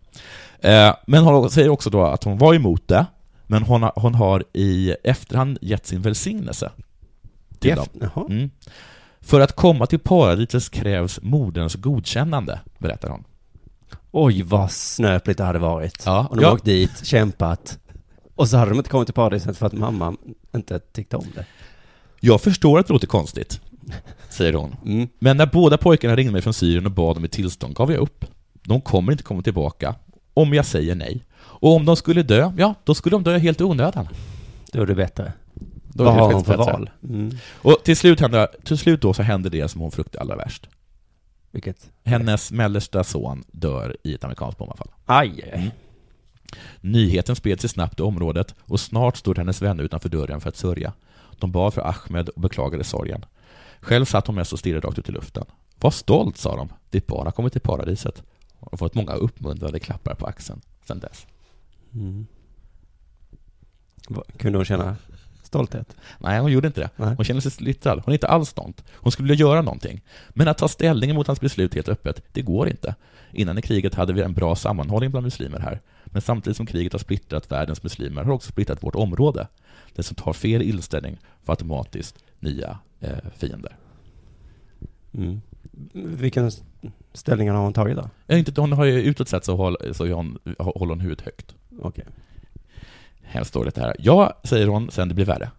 Speaker 12: Eh, men hon säger också då att hon var emot det, men hon har, hon har i efterhand gett sin välsignelse till dem.
Speaker 11: Jaha.
Speaker 12: Mm. För att komma till paradiset krävs moderns godkännande, berättar hon.
Speaker 11: Oj, vad snöpligt det hade varit.
Speaker 12: Ja,
Speaker 11: Om de
Speaker 12: ja.
Speaker 11: åkt dit, kämpat. Och så hade de inte kommit till paradiset för att mamma inte tyckte om det.
Speaker 12: Jag förstår att det låter konstigt, säger hon. Men när båda pojkarna ringde mig från Syrien och bad om ett tillstånd gav jag upp. De kommer inte komma tillbaka om jag säger nej. Och om de skulle dö, ja, då skulle de dö helt i onödan.
Speaker 11: Då är det bättre.
Speaker 12: Då
Speaker 11: Vad
Speaker 12: är det
Speaker 11: har hon för
Speaker 12: faktiskt bättre.
Speaker 11: val? Mm.
Speaker 12: Och till slut, händer, till slut då så händer det som hon fruktade allra värst.
Speaker 11: Vilket?
Speaker 12: Hennes mellersta son dör i ett amerikanskt bombanfall.
Speaker 11: Aj. Mm.
Speaker 12: Nyheten spred sig snabbt i området och snart stod hennes vänner utanför dörren för att sörja. De bad för Ahmed och beklagade sorgen. Själv satt hon mest och stirrade rakt ut i luften. Var stolt, sa de. Ditt barn har kommit till paradiset och fått många uppmuntrande klappar på axeln sedan dess.
Speaker 11: Mm. Va- Kunde hon känna stolthet?
Speaker 12: Nej, hon gjorde inte det.
Speaker 11: Nej.
Speaker 12: Hon kände sig splittrad. Hon är inte alls stolt. Hon skulle vilja göra någonting. Men att ta ställning mot hans beslut helt öppet, det går inte. Innan i kriget hade vi en bra sammanhållning bland muslimer här. Men samtidigt som kriget har splittrat världens muslimer har också splittrat vårt område. Den som tar fel inställning får automatiskt nya eh, fiender.
Speaker 11: Mm. Vilken ställning har hon tagit då?
Speaker 12: Eh, Inte, hon har ju utåt sett så, håll, så är hon, håller hon huvudet högt.
Speaker 11: Okej.
Speaker 12: Hemskt dåligt det här. Ja, säger hon sen det blir värre.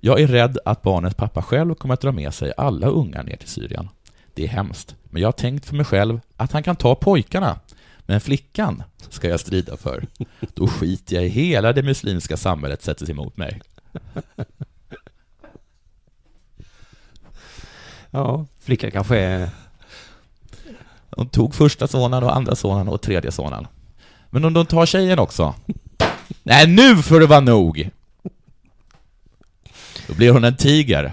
Speaker 12: Jag är rädd att barnets pappa själv kommer att dra med sig alla ungar ner till Syrien. Det är hemskt, men jag har tänkt för mig själv att han kan ta pojkarna. Men flickan ska jag strida för. Då skiter jag i hela det muslimska samhället sätter sig emot mig.
Speaker 11: Ja, flickan kanske är...
Speaker 12: De tog första sonen och andra sonen och tredje sonen. Men om de tar tjejen också? Nej, nu får det vara nog! Då blir hon en tiger.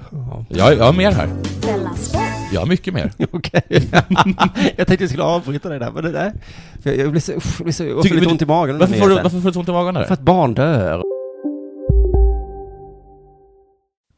Speaker 12: Jag, jag har mer här.
Speaker 10: Della Sport.
Speaker 12: Jag har mycket mer.
Speaker 11: Okej. jag tänkte jag skulle avbryta dig där, men det där... För jag blir så... Usch, jag blir så jag får
Speaker 12: Tycker du-
Speaker 11: lite ont i magen av den
Speaker 12: Varför får du,
Speaker 11: nyheten.
Speaker 12: varför får du så ont i magen av
Speaker 11: För
Speaker 12: det?
Speaker 11: att barn dör.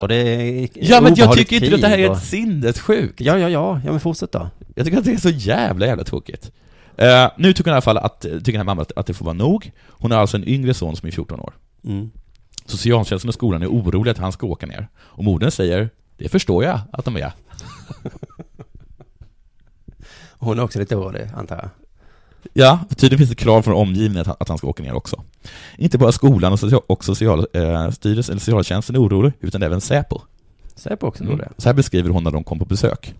Speaker 11: Och det är
Speaker 12: Ja, men jag
Speaker 11: obehagligt
Speaker 12: tycker inte att det här
Speaker 11: krig
Speaker 12: är
Speaker 11: och-
Speaker 12: ett sinnessjukt.
Speaker 11: Ja, ja, ja. Ja, men fortsätt då.
Speaker 12: Jag tycker att det är så jävla, jävla tråkigt. Eh, nu tycker hon i alla fall att, tycker den här mamman att, att det får vara nog. Hon har alltså en yngre son som är 14 år.
Speaker 11: Mm.
Speaker 12: Socialtjänsten och skolan är oroliga att han ska åka ner. Och modern säger, det förstår jag att de är.
Speaker 11: Hon är också lite orolig, antar jag.
Speaker 12: Ja, för tydligen finns det krav från omgivningen att han, att han ska åka ner också. Inte bara skolan och, social, och social, eh, styrelsen, eller socialtjänsten är orolig, utan även Säpo.
Speaker 11: Säpo också orolig.
Speaker 12: Så här beskriver hon när de kom på besök.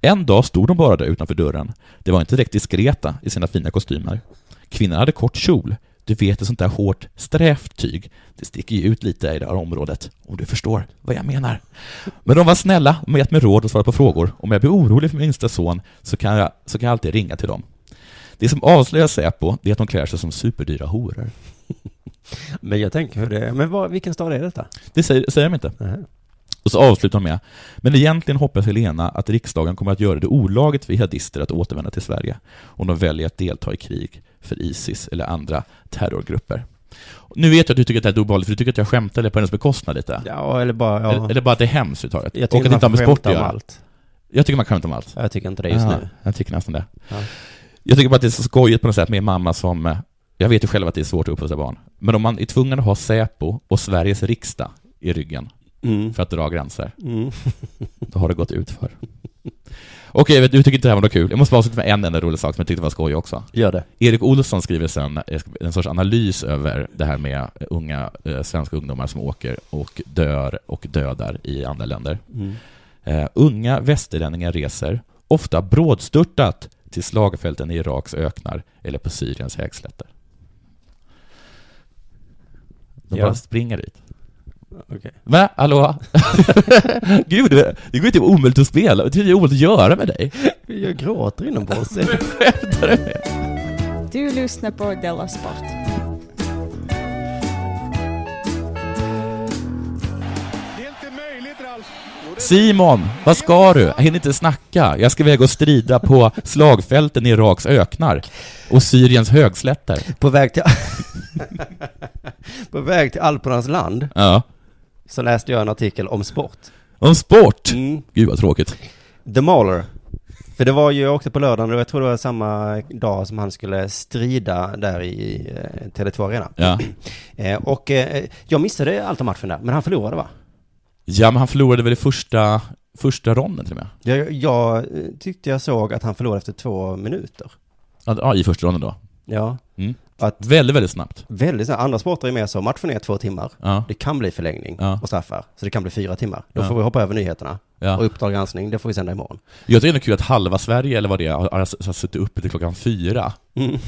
Speaker 12: En dag stod de bara där utanför dörren. Det var inte direkt diskreta i sina fina kostymer. Kvinnan hade kort kjol. Du vet, ett sånt där hårt, strävt tyg. Det sticker ju ut lite i det här området, om du förstår vad jag menar. Men de var snälla, de har gett mig råd och svarat på frågor. Om jag blir orolig för min yngsta son så kan, jag, så kan jag alltid ringa till dem. Det som avslöjar Säpo, det är att de klär sig som superdyra horor.
Speaker 11: Men jag tänker hur det är. Men vad, vilken stad är detta?
Speaker 12: Det säger, säger de inte. Och så avslutar de med, men egentligen hoppas Helena att riksdagen kommer att göra det olagligt för jihadister att återvända till Sverige om de väljer att delta i krig för Isis eller andra terrorgrupper. Nu vet jag att du tycker att det här är obehagligt, för du tycker att jag skämtade på hennes bekostnad lite.
Speaker 11: Ja, eller bara... Ja.
Speaker 12: Eller, eller bara att det är hemskt överhuvudtaget.
Speaker 11: Jag tycker
Speaker 12: Och att det inte har
Speaker 11: man
Speaker 12: med
Speaker 11: får
Speaker 12: sport
Speaker 11: skämta
Speaker 12: att
Speaker 11: om
Speaker 12: göra.
Speaker 11: allt.
Speaker 12: Jag tycker man skämtar om allt.
Speaker 11: Jag tycker inte det just
Speaker 12: Ja,
Speaker 11: nu.
Speaker 12: Jag tycker nästan det.
Speaker 11: Ja.
Speaker 12: Jag tycker bara att det är så skojigt på något sätt med en mamma som... eh, Jag vet ju själv att det är svårt att uppfostra barn. Men om man är tvungen att ha Säpo och Sveriges riksdag i ryggen för att dra gränser,
Speaker 11: Mm.
Speaker 12: då har det gått ut för. Okej, jag vet, du tycker inte det här var något kul. Jag måste bara avsluta med en enda rolig sak som jag tyckte var skoj också.
Speaker 11: Gör det.
Speaker 12: Erik Olsson skriver sen eh, en sorts analys över det här med unga eh, svenska ungdomar som åker och dör och dödar i andra länder.
Speaker 11: Mm.
Speaker 12: Eh, unga västerlänningar reser ofta brådstörtat till slagfälten i Iraks öknar eller på Syriens högslätter. De
Speaker 11: Ja.
Speaker 12: bara springer dit.
Speaker 11: Okej.
Speaker 12: Va? Hallå? Gud, det det går ju typ omöjligt att spela. Det är ju omöjligt att göra med dig.
Speaker 11: Jag gråter inombords.
Speaker 8: Du lyssnar på Della Sport.
Speaker 12: Simon, vad ska du? Jag hinner inte snacka. Jag ska iväg och strida på slagfälten i Iraks öknar och Syriens högslätter.
Speaker 11: På väg till... På väg till Alpernas land
Speaker 12: Ja.
Speaker 11: så läste jag en artikel om sport.
Speaker 12: Om sport? Gud vad tråkigt.
Speaker 11: The Mauler. För det var ju också på lördagen, och jag tror det var samma dag som han skulle strida där i eh, Tele2 Arena.
Speaker 12: Ja.
Speaker 11: Eh, Och eh, jag missade allt om matchen där, men han förlorade va?
Speaker 12: ja, men han förlorade väl i första, första ronden till och med?
Speaker 11: Jag, jag eh, tyckte jag såg att han förlorade efter två minuter.
Speaker 12: Ja, Ja, i första ronden då.
Speaker 11: Ja.
Speaker 12: Mm.
Speaker 11: Att-
Speaker 12: Väldigt, väldigt snabbt.
Speaker 11: Väldigt snabbt. Andra sporter är mer så, matchen är två timmar.
Speaker 12: Ja.
Speaker 11: Det kan bli förlängning
Speaker 12: Ja.
Speaker 11: och straffar. Så det kan bli fyra timmar. Då
Speaker 12: Ja.
Speaker 11: får vi hoppa över nyheterna.
Speaker 12: Ja.
Speaker 11: Och Uppdrag granskning, det får vi sända imorgon.
Speaker 12: Jag tycker det är kul att halva Sverige, eller vad det är, har, har, har suttit uppe till klockan fyra.
Speaker 11: Mm.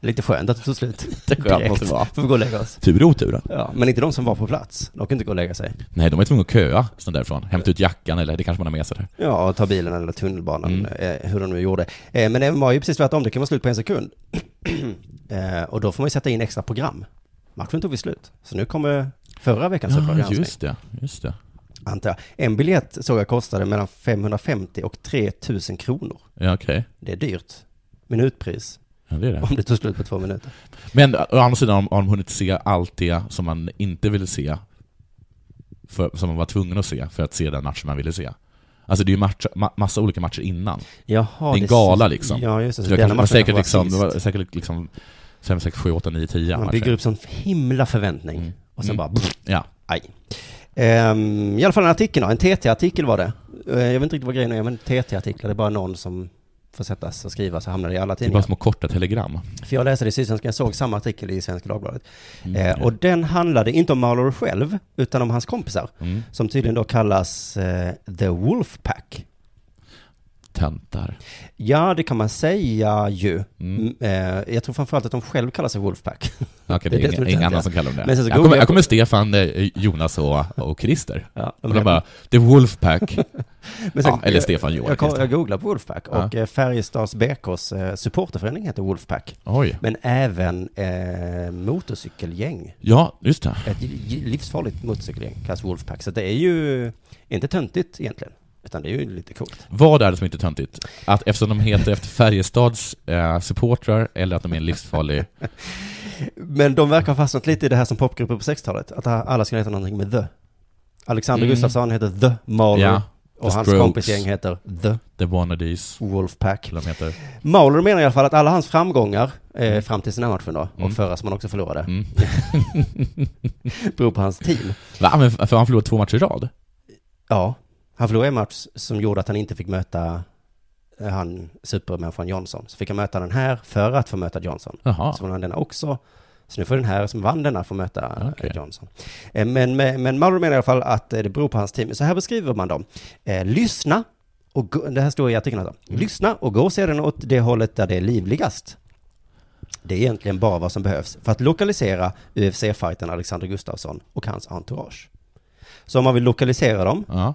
Speaker 11: det är lite skönt att det tog slut.
Speaker 12: Det är skönt
Speaker 11: Direkt.
Speaker 12: måste det vara.
Speaker 11: Får vi gå och lägga oss.
Speaker 12: Tur i oturen.
Speaker 11: Ja, men inte de som var på plats. De kan inte gå och lägga sig.
Speaker 12: Nej, de är tvungna att köa sen därifrån. Hämta ut jackan, eller det kanske man har med sig där.
Speaker 11: Ja, och ta bilen eller tunnelbanan,
Speaker 12: Mm.
Speaker 11: eh, hur de nu gjorde. Eh, men det var ju precis tvärtom, det kan vara slut på en sekund. eh, och då får man ju sätta in extra program. Matchen tog vi slut. Så nu kommer förra veckans Uppdrag
Speaker 12: Ja,
Speaker 11: granskning,
Speaker 12: just det. Just det.
Speaker 11: antar jag. En biljett såg jag kostade mellan 550 och 3000 kronor.
Speaker 12: Ja, okej.
Speaker 11: Det är dyrt. Minutpris.
Speaker 12: Ja, det är det.
Speaker 11: Om det tog slut på två minuter.
Speaker 12: Men å andra sidan har- har de hunnit se allt det som man inte ville se, för, som man var tvungen att se för att se den matchen man ville se. Alltså det är ju match, ma- massa olika matcher innan.
Speaker 11: Jaha,
Speaker 12: det är en
Speaker 11: det-
Speaker 12: gala liksom.
Speaker 11: ja, just det. Så
Speaker 12: det
Speaker 11: denna
Speaker 12: var,
Speaker 11: matchen
Speaker 12: säkert
Speaker 11: kanske var
Speaker 12: liksom, det var säkert liksom 5, 6, 7, 8, 9, 10
Speaker 11: Man
Speaker 12: matcher.
Speaker 11: bygger upp sån himla förväntning. Och sen
Speaker 12: Mm.
Speaker 11: bara... Pff,
Speaker 12: Ja.
Speaker 11: Aj. Ehm, I alla fall en artikel då, en TT-artikel var det. Eh, jag vet inte riktigt vad grejen är, men TT-artiklar, det är bara någon som får sättas och skrivas så hamnar det i alla
Speaker 12: Det är bara
Speaker 11: tidningar.
Speaker 12: små korta telegram.
Speaker 11: För jag läste det i Sydsvenskan, jag såg samma artikel i Svenska Dagbladet.
Speaker 12: Mm,
Speaker 11: Eh, och den handlade inte om Mauler själv, utan om hans kompisar.
Speaker 12: Mm.
Speaker 11: Som tydligen då kallas eh, The Wolfpack.
Speaker 12: Töntar.
Speaker 11: Ja, det kan man säga ju. Mm. Eh, jag tror framförallt att de själv kallar sig Wolfpack.
Speaker 12: Okej, det är
Speaker 11: som
Speaker 12: ingen, ingen annan
Speaker 11: trendiga.
Speaker 12: som kallar dem det.
Speaker 11: Men sen så
Speaker 12: jag, kommer,
Speaker 11: googlar
Speaker 12: jag kommer Stefan, eh, Jonas och, och Christer.
Speaker 11: Ja, de
Speaker 12: och de
Speaker 11: heter-
Speaker 12: bara, The Wolfpack.
Speaker 11: Men sen-
Speaker 12: ja, eller Stefan, Johan,
Speaker 11: Jag, jag,
Speaker 12: Christer.
Speaker 11: jag googlade på Wolfpack
Speaker 12: Ja.
Speaker 11: och eh, Färjestads BKs eh, supporterförening heter Wolfpack.
Speaker 12: Oj.
Speaker 11: Men även eh, motorcykelgäng.
Speaker 12: Ja, just det.
Speaker 11: Ett j- livsfarligt motorcykelgäng kallas Wolfpack. Så det är ju inte töntigt egentligen. Utan det är ju lite coolt.
Speaker 12: Vad är det som inte är töntigt? Att eftersom de heter efter Färjestads eh, supportrar eller att de är en livsfarlig...
Speaker 11: Men de verkar ha fastnat lite i det här som popgrupper på 60-talet. Att alla skulle heta någonting med The. Alexander
Speaker 12: Mm.
Speaker 11: Gustafsson heter The Mauler.
Speaker 12: Ja,
Speaker 11: och
Speaker 12: The
Speaker 11: hans
Speaker 12: Strokes.
Speaker 11: kompisgäng heter The
Speaker 12: The Wannadies,
Speaker 11: Wolfpack.
Speaker 12: eller vad de heter.
Speaker 11: Mauler menar i alla fall att alla hans framgångar eh, fram till den här matchen då,
Speaker 12: Mm.
Speaker 11: och förra som han också förlorade, beror på hans team.
Speaker 12: Va? Men för han förlorade två matcher i rad?
Speaker 11: Ja, han förlorade en match som gjorde att han inte fick möta eh, han supermänniskan Johnson. Så fick han möta den här för att få möta Johnson.
Speaker 12: Jaha.
Speaker 11: Så vann han denna också. Så nu får den här som vann denna få möta eh,
Speaker 12: Okej.
Speaker 11: Johnson. Eh, Men, men, men Mauro menar i alla fall att eh, det beror på hans team. Så här beskriver man dem. Eh, lyssna, och gå, det här står i artikeln alltså. Lyssna och gå sedan åt det hållet där det är livligast. Det är egentligen bara vad som behövs för att lokalisera UFC-fightern Alexander Gustafsson och hans entourage. Så om man vill lokalisera dem
Speaker 12: Ja.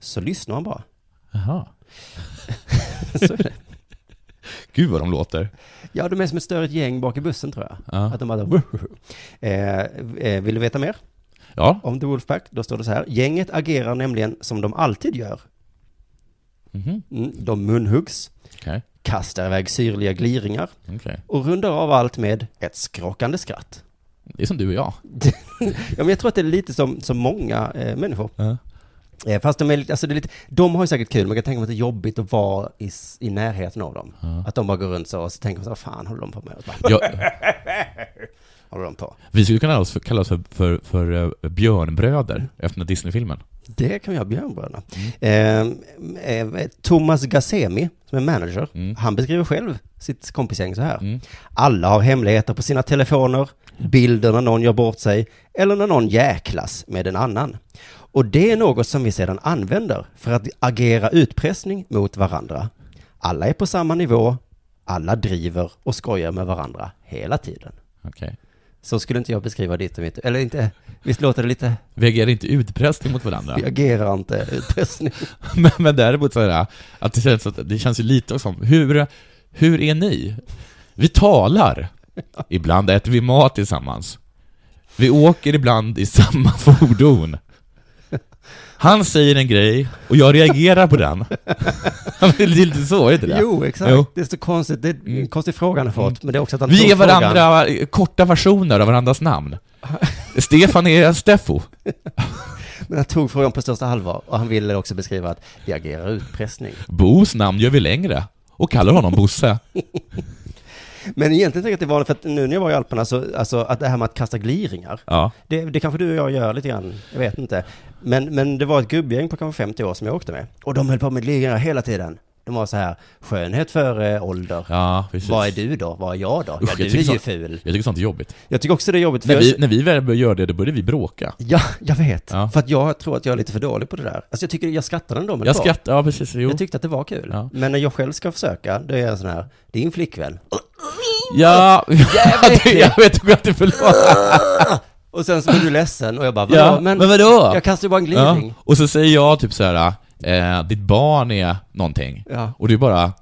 Speaker 11: så lyssnar man bara.
Speaker 12: Jaha.
Speaker 11: Så är det.
Speaker 12: Gud vad de låter.
Speaker 11: Ja, de är som ett större gäng bak i bussen tror jag.
Speaker 12: Ja.
Speaker 11: Att de bara... Eh, eh, vill du veta mer
Speaker 12: Ja.
Speaker 11: om The Wolfpack? Då står det så här. Gänget agerar nämligen som de alltid gör.
Speaker 12: Mhm.
Speaker 11: Mm, De munhuggs,
Speaker 12: Okej.
Speaker 11: kastar iväg syrliga gliringar
Speaker 12: Okej.
Speaker 11: och rundar av allt med ett skrockande skratt.
Speaker 12: Det är som du och jag.
Speaker 11: ja, men jag tror att det är lite som, som många eh, människor.
Speaker 12: Ja.
Speaker 11: Eh, Fast de är, lite- alltså det är lite, de har ju säkert kul, man kan tänka mig att det är jobbigt att vara i, s- i närheten av dem. Att de bara går runt så och så tänker man så, vad fan håller de på med? Och så bara,
Speaker 12: Jag,
Speaker 11: håller de på?
Speaker 12: vi skulle kunna kalla oss för, kalla oss för, för, för eh, björnbröder efter den här Disney-filmen.
Speaker 11: Det kan vi ha björnbröderna. Eh, eh, Thomas Gassemi, som är manager, han beskriver själv sitt kompisgäng så här. Alla har hemligheter på sina telefoner, bilder när någon gör bort sig, eller när någon jäklas med en annan. Och det är något som vi sedan använder för att agera utpressning mot varandra. Alla är på samma nivå, alla driver och skojar med varandra hela tiden.
Speaker 12: Okej.
Speaker 11: Så skulle inte jag beskriva ditt och mitt, eller inte, visst låter det lite,
Speaker 12: Vi agerar inte utpressning mot varandra.
Speaker 11: vi agerar inte utpressning.
Speaker 12: men, men däremot så här, att det känns, att, det känns ju lite som, hur, hur är ni? Vi talar. Ibland äter vi mat tillsammans. Vi åker ibland i samma fordon. Han säger en grej och jag reagerar på den. det är lite så, är det inte det?
Speaker 11: Jo, exakt. Det är så konstigt, det är en konstig fråga han har fått, men det är också att han
Speaker 12: Mm. Vi ger
Speaker 11: tog frågan.
Speaker 12: varandra korta versioner av varandras namn. Stefan är Steffo.
Speaker 11: Men han tog frågan på största allvar och han ville också beskriva att vi agerar utpressning.
Speaker 12: Bos namn gör vi längre och kallar honom Bosse.
Speaker 11: Men egentligen tänker jag att det är vanligt, för att nu när jag var i Alperna, så, alltså att det här med att kasta gliringar,
Speaker 12: Ja.
Speaker 11: det, det kanske du och jag gör lite grann, jag vet inte. Men, men det var ett gubbgäng på kanske 50 år som jag åkte med, och de höll på med gliringar hela tiden. De var så här, skönhet före ålder.
Speaker 12: Ja, precis.
Speaker 11: Vad är du då? Vad är jag då?
Speaker 12: Usch,
Speaker 11: ja, du
Speaker 12: tycker
Speaker 11: är ju
Speaker 12: sånt-
Speaker 11: ful.
Speaker 12: Jag tycker sånt är jobbigt.
Speaker 11: Jag tycker också det är jobbigt. för
Speaker 12: När
Speaker 11: jag-
Speaker 12: vi, när vi väl började göra det, då började vi bråka.
Speaker 11: Ja, jag vet.
Speaker 12: Ja.
Speaker 11: För att jag tror att jag är lite för dålig på det där. Alltså jag tycker, jag skrattade ändå men
Speaker 12: Jag
Speaker 11: det var-
Speaker 12: skrattar, ja precis, jo.
Speaker 11: Jag tyckte att det var kul.
Speaker 12: Ja.
Speaker 11: Men när jag själv ska försöka, då är jag sån här, din flickvän.
Speaker 12: Ja, det- jag vet inte att du förlåt.
Speaker 11: Och sen så blir du ledsen och jag bara,
Speaker 12: Ja,
Speaker 11: "Vadå?
Speaker 12: men, vadå?
Speaker 11: Jag kastar ju bara en
Speaker 12: Ja.
Speaker 11: gliring.
Speaker 12: Och så säger jag typ så här, eh, ditt barn är någonting.
Speaker 11: Ja.
Speaker 12: Och du bara,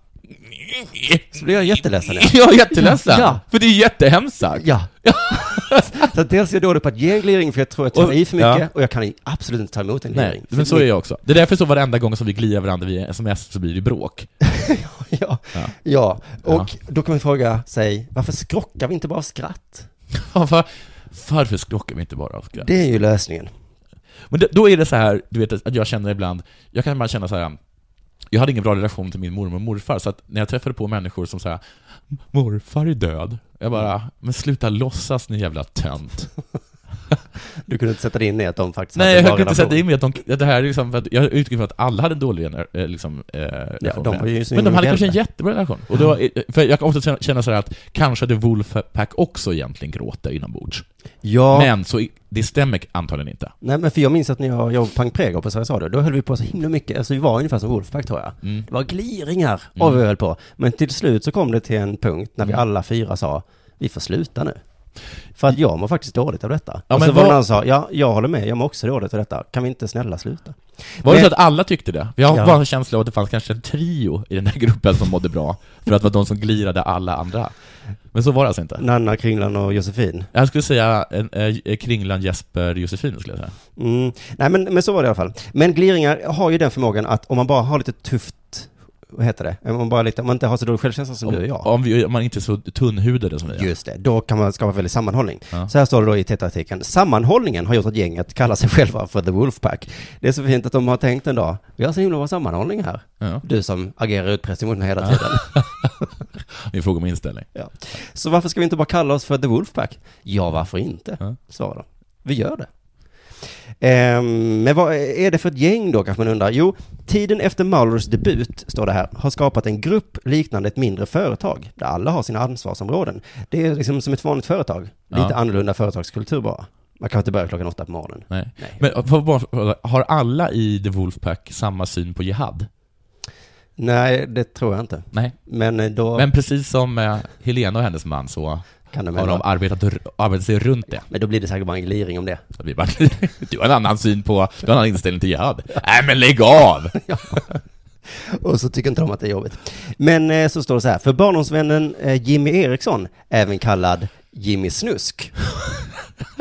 Speaker 11: Så blir jag jätteledsen.
Speaker 12: jag är jätteledsen.
Speaker 11: Ja.
Speaker 12: För det är jättehemskt sagt.
Speaker 11: Ja. så att dels är jag dålig på att ge en gliring för jag tror att jag tar
Speaker 12: Och-
Speaker 11: i för mycket
Speaker 12: ja.
Speaker 11: och jag kan absolut inte ta emot en gliring.
Speaker 12: Nej, men så är jag också. Det är därför så varenda gång som vi glirar varandra via sms så blir det bråk.
Speaker 11: ja. Ja, och då kan man fråga sig, varför skrockar vi inte bara av skratt?
Speaker 12: Varför, varför skrockar vi inte bara av skratt?
Speaker 11: Det är ju lösningen.
Speaker 12: Men det, då är det så här, du vet att jag känner ibland, jag kan bara känna så här. Jag hade ingen bra relation till min mormor och morfar, så att när jag träffade på människor som säger ”Morfar är död”, jag bara ”Men sluta låtsas ni jävla tönt”.
Speaker 11: Du kunde inte sätta dig in i att de faktiskt
Speaker 12: Nej,
Speaker 11: hade en
Speaker 12: jag
Speaker 11: bra
Speaker 12: kunde inte sätta
Speaker 11: relation.
Speaker 12: in mig att de, att det här är liksom, för att jag utgår från att alla hade en dålig gener- eh, liksom, eh, relation
Speaker 11: de
Speaker 12: med
Speaker 11: var ju
Speaker 12: henne.
Speaker 11: så
Speaker 12: Men de hade
Speaker 11: involverade.
Speaker 12: kanske en jättebra relation. Och då, för jag kan ofta känna så här att kanske hade Wolfpack också egentligen gråter inombords.
Speaker 11: Ja.
Speaker 12: Men så, i- det stämmer antagligen inte.
Speaker 11: Nej men för jag minns att när jag jobbade på Pang Prego på Sveriges Radio, då höll vi på så himla mycket, alltså vi var ungefär som Wolfpack tror jag.
Speaker 12: Mm.
Speaker 11: Det var gliringar av vad vi höll på. Men till slut så kom det till en punkt när vi
Speaker 12: Mm.
Speaker 11: alla fyra sa, vi får sluta nu. För att jag mår faktiskt dåligt av detta.
Speaker 12: Ja,
Speaker 11: och
Speaker 12: men
Speaker 11: så var det
Speaker 12: vad-
Speaker 11: någon som sa, ja, jag håller med, jag mår också dåligt av detta. Kan vi inte snälla sluta?
Speaker 12: Var det
Speaker 11: Men-
Speaker 12: så att alla tyckte det? Jag har
Speaker 11: Ja.
Speaker 12: bara en känsla av att det fanns kanske en trio i den där gruppen som mådde bra, för att det var de som glirade alla andra. Men så var det alltså inte.
Speaker 11: Nanna, Kringlan och Josefin.
Speaker 12: Jag skulle säga en, eh, Kringlan, Jesper, Josefin skulle jag säga.
Speaker 11: Mm. Nej men, men så var det i alla fall. Men gliringar har ju den förmågan att om man bara har lite tufft, vad heter det? Om man, bara lite, om man inte har så dålig självkänsla som du och jag.
Speaker 12: Om, om, vi, om man inte är så tunnhudade som vi är.
Speaker 11: Just det, då kan man skapa väldigt sammanhållning.
Speaker 12: Ja.
Speaker 11: Så här står det då i TT-artikeln. Sammanhållningen har gjort att gänget kallar sig själva för The Wolfpack. Det är så fint att de har tänkt en dag, vi har så himla bra sammanhållning här.
Speaker 12: Ja.
Speaker 11: Du som agerar utpressning mot mig hela tiden.
Speaker 12: Det är fråga om inställning.
Speaker 11: ja. Så varför ska vi inte bara kalla oss för The Wolfpack? Ja, varför inte?
Speaker 12: Ja.
Speaker 11: Svarar de. Vi gör det. Ehm, men vad är det för ett gäng då, kanske man undrar? Jo, tiden efter Maulers debut, står det här, har skapat en grupp liknande ett mindre företag, där alla har sina ansvarsområden. Det är liksom som ett vanligt företag, lite
Speaker 12: Ja.
Speaker 11: annorlunda företagskultur bara. Man kan inte börja klockan åtta på morgonen.
Speaker 12: Nej.
Speaker 11: Nej.
Speaker 12: Men eh, får jag bara fråga, har alla i The Wolfpack samma syn på jihad?
Speaker 11: Nej, det tror jag inte.
Speaker 12: Nej.
Speaker 11: Men eh, då
Speaker 12: Men precis som eh, Helena och hennes man så
Speaker 11: kan det
Speaker 12: har de arbetat, r- arbetat sig runt det.
Speaker 11: Men då blir det säkert bara en gliring om det.
Speaker 12: Så vi bara, du har en annan syn på, du har en annan inställning till jihad. Nej men lägg av!
Speaker 11: Och så tycker inte de att det är jobbigt. Men eh, så står det så här, för barndomsvännen eh, Jimmy Eriksson, även kallad Jimmy Snusk,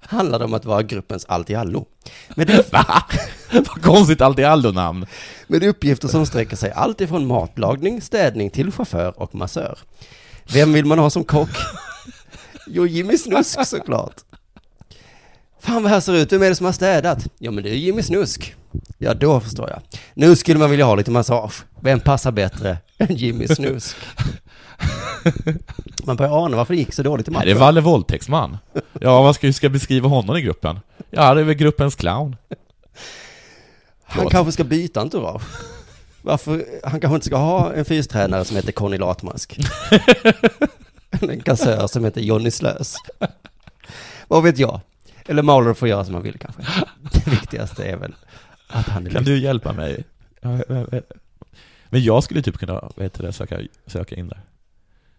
Speaker 11: handlar det om att vara gruppens allt-i-allo. Med, det-
Speaker 12: Vad konstigt allt i allo namn.
Speaker 11: med uppgifter som sträcker sig allt ifrån matlagning, städning till chaufför och massör. Vem vill man ha som kock? Jo, Jimmy Snusk såklart. Fan vad här ser ut, vem är det som har städat? Ja men det är Jimmy Snusk. Ja då förstår jag. Nu skulle man vilja ha lite massage. Vem passar bättre än Jimmy Snusk? Man börjar ana varför det gick så dåligt i
Speaker 12: Nej,
Speaker 11: matchen.
Speaker 12: det är Valle våldtäktsman. Ja, vad ska, hur ska jag beskriva honom i gruppen? Ja, det är väl gruppens clown.
Speaker 11: Han kanske ska byta entourage. Varför? Han kanske inte ska ha en fystränare som heter Conny Latmask. Eller en kassör som heter Jonny Slös. Vad vet jag? Eller Mauler får göra som han vill kanske. Det viktigaste är väl att han är
Speaker 12: Kan du hjälpa mig? Men jag skulle typ kunna, vad heter det, söka, söka in där.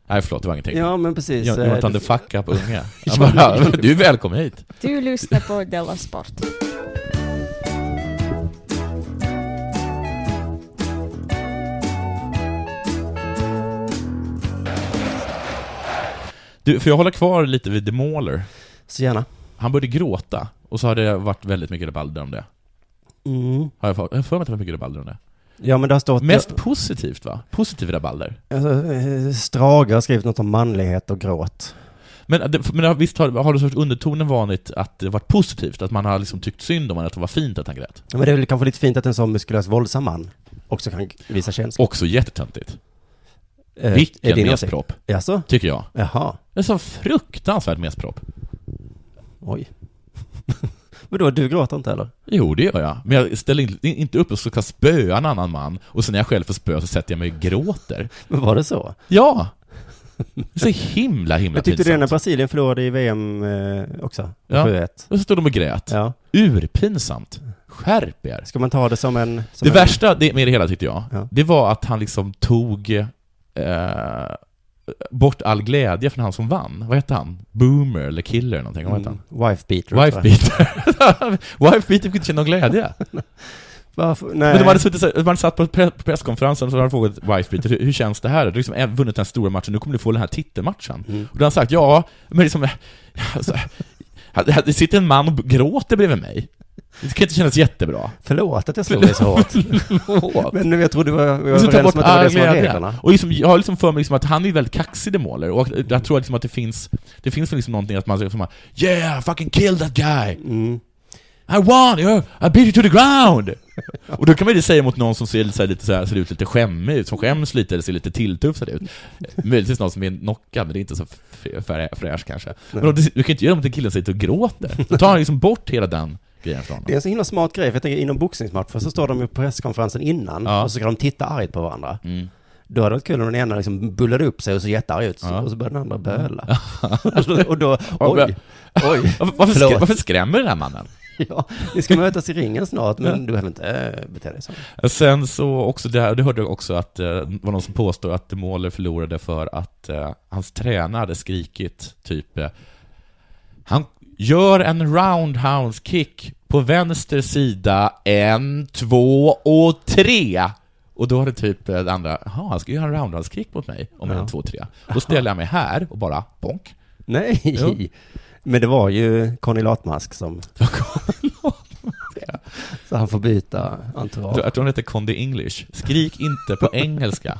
Speaker 12: Nej förlåt, det var ingenting.
Speaker 11: Ja, men precis.
Speaker 12: Jo- Jonathan
Speaker 11: Eh,
Speaker 12: the fuck up unga.
Speaker 11: Ja,
Speaker 12: Jag bara,
Speaker 11: ja.
Speaker 12: du är välkommen hit.
Speaker 8: Du lyssnar på Della Sport.
Speaker 12: Du, får jag hålla kvar lite vid The Mauler?
Speaker 11: Eh, Så gärna.
Speaker 12: Han började gråta, och så har det varit väldigt mycket rabalder om det.
Speaker 11: Mm.
Speaker 12: Har jag fått- jag har för mig att det var mycket rabalder om det.
Speaker 11: Ja, men det har stått...
Speaker 12: Mest positivt va? Positiv rabalder.
Speaker 11: Alltså, eh, Strage har skrivit något om manlighet och gråt.
Speaker 12: Men, det- men har- visst har, har det sorts undertonen vanligt att det varit positivt? Att man har liksom tyckt synd om honom, att det var fint att han grät?
Speaker 11: Ja, men det är väl kanske lite fint att en sån muskulös våldsam man också kan visa känslor.
Speaker 12: Också jättetöntigt.
Speaker 11: Eh, är
Speaker 12: Vilken
Speaker 11: din åsikt?
Speaker 12: mespropp.
Speaker 11: Jaså?
Speaker 12: Tycker jag.
Speaker 11: Jaha.
Speaker 12: Det är så fruktansvärt mespropp.
Speaker 11: Oj. Vadå, du gråter inte heller?
Speaker 12: Jo, det gör jag. Men jag ställer in- inte upp och ska spöa en annan man, och sen när jag själv får spö så sätter jag mig och gråter.
Speaker 11: Men var det så?
Speaker 12: Ja! Så himla, himla
Speaker 11: Jag tyckte det
Speaker 12: pinsamt.
Speaker 11: när Brasilien förlorade i VM eh, också.
Speaker 12: Ja.
Speaker 11: 7-1.
Speaker 12: Och så stod de och grät.
Speaker 11: Ja.
Speaker 12: Urpinsamt. Skärp er.
Speaker 11: Ska man ta det som en... Som
Speaker 12: det
Speaker 11: en...
Speaker 12: värsta det, med det hela tyckte jag,
Speaker 11: Ja.
Speaker 12: det var att han liksom tog eh, bort all glädje från han som vann. Vad hette han? Boomer eller Killer eller någonting? Vad hette han?
Speaker 11: Mm, wife beater,
Speaker 12: Wife
Speaker 11: tror jag.
Speaker 12: beater. wife beater fick inte känna någon glädje.
Speaker 11: Varför? Nej.
Speaker 12: Men de hade, suttit, så- de hade satt på pre- på presskonferensen och så hade de frågat wife beater, hur, hur känns det här? Du har liksom en- vunnit den här stora matchen, nu kommer du få den här titelmatchen.
Speaker 11: Mm.
Speaker 12: Och då har han sagt, ja, men liksom... eh, Alltså, här- det sitter en man och gråter bredvid mig. Det kan inte kännas jättebra.
Speaker 11: Förlåt att jag slog dig så hårt.
Speaker 12: Förlåt.
Speaker 11: Men nu, jag trodde vi var, vi var
Speaker 12: Och så ta
Speaker 11: överens
Speaker 12: bort
Speaker 11: om att det var
Speaker 12: all
Speaker 11: det som var
Speaker 12: glädje.
Speaker 11: reglerna.
Speaker 12: Och liksom, jag har liksom för mig liksom att han är väldigt kaxig The Mauler, och jag tror liksom att det finns, det finns liksom någonting att man säger som här, Yeah, fucking kill that guy!
Speaker 11: Mm.
Speaker 12: I won! yeah, I beat you to the ground! och då kan man ju säga mot någon som ser, så här, lite, så här, ser ut lite skämmig ut, som skäms lite eller ser lite tilltufsad ut. Möjligtvis någon som är knockad, men det är inte så frä- frä- fräsch kanske. Men om du, du kan ju inte göra något till killen sitter och gråter. Då tar han liksom bort hela den grejen från honom.
Speaker 11: Det är en så himla smart grej, för jag tänker inom boxningsmatcher så står de ju på presskonferensen innan
Speaker 12: Ja.
Speaker 11: och så ska de titta argt på varandra.
Speaker 12: Mm.
Speaker 11: Då hade det varit kul om den ena liksom bullade upp sig och så jättearg ut
Speaker 12: Ja.
Speaker 11: och så började den andra böla. och då, och då oj, oj.
Speaker 12: Varför,
Speaker 11: Förlåt.
Speaker 12: skrä- varför skrämmer den här mannen?
Speaker 11: Ja, ni ska mötas i ringen snart, men du behöver inte äh, bete dig så.
Speaker 12: Sen så också, det, här- det hörde jag också att eh, det var någon som påstod att De Mauler förlorade för att eh, hans tränare hade skrikit typ eh, Han gör en roundhouse kick på vänster sida, en, två och tre! Och då hade typ eh, det andra, jaha, han ska göra en roundhouse kick mot mig om
Speaker 11: Ja.
Speaker 12: en, två, tre. Då ställer jag mig här och bara, bonk.
Speaker 11: Nej,
Speaker 12: Jo.
Speaker 11: men det var ju Conny Latmask som... så han får byta
Speaker 12: Jag tror-
Speaker 11: entourage.
Speaker 12: jag tror hon heter Condi English. Skrik inte på engelska.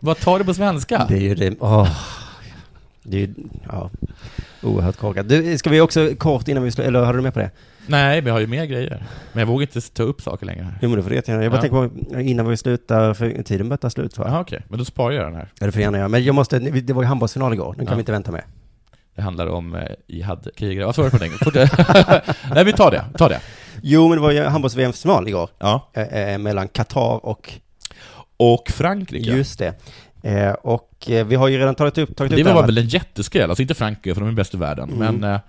Speaker 12: Vad tar du på svenska?
Speaker 11: Det är ju det, åh. Det är ju, ja, oerhört korkat. Du, ska vi också kort innan vi slutar, eller hade du med på det?
Speaker 12: Nej, men jag har ju mer grejer. Men jag vågar inte ta upp saker längre här.
Speaker 11: Jo men det får du jättegärna. Jag bara
Speaker 12: Ja.
Speaker 11: tänker på innan vi slutar, för tiden börjar ta slut tror jag.
Speaker 12: Jaha, okej. Men då sparar jag den här.
Speaker 11: Ja, det får jag gärna göra. Men jag måste, det var ju handbollsfinal igår, den kan
Speaker 12: Ja.
Speaker 11: vi inte vänta med.
Speaker 12: Det handlar om eh, jihad-krigare. Vad sa du för någonting? Fort- Nej, vi tar det. Ta det.
Speaker 11: Jo men det var ju handbolls-VM-final igår.
Speaker 12: Ja.
Speaker 11: Eh, eh, mellan Qatar och,
Speaker 12: Och Frankrike.
Speaker 11: just det. Eh, och eh, vi har ju redan tagit upp, tagit
Speaker 12: det
Speaker 11: upp här,
Speaker 12: var
Speaker 11: va?
Speaker 12: väl en jätteskräll. Alltså inte Frankrike, för de är bäst i världen.
Speaker 11: Mm.
Speaker 12: Men, eh,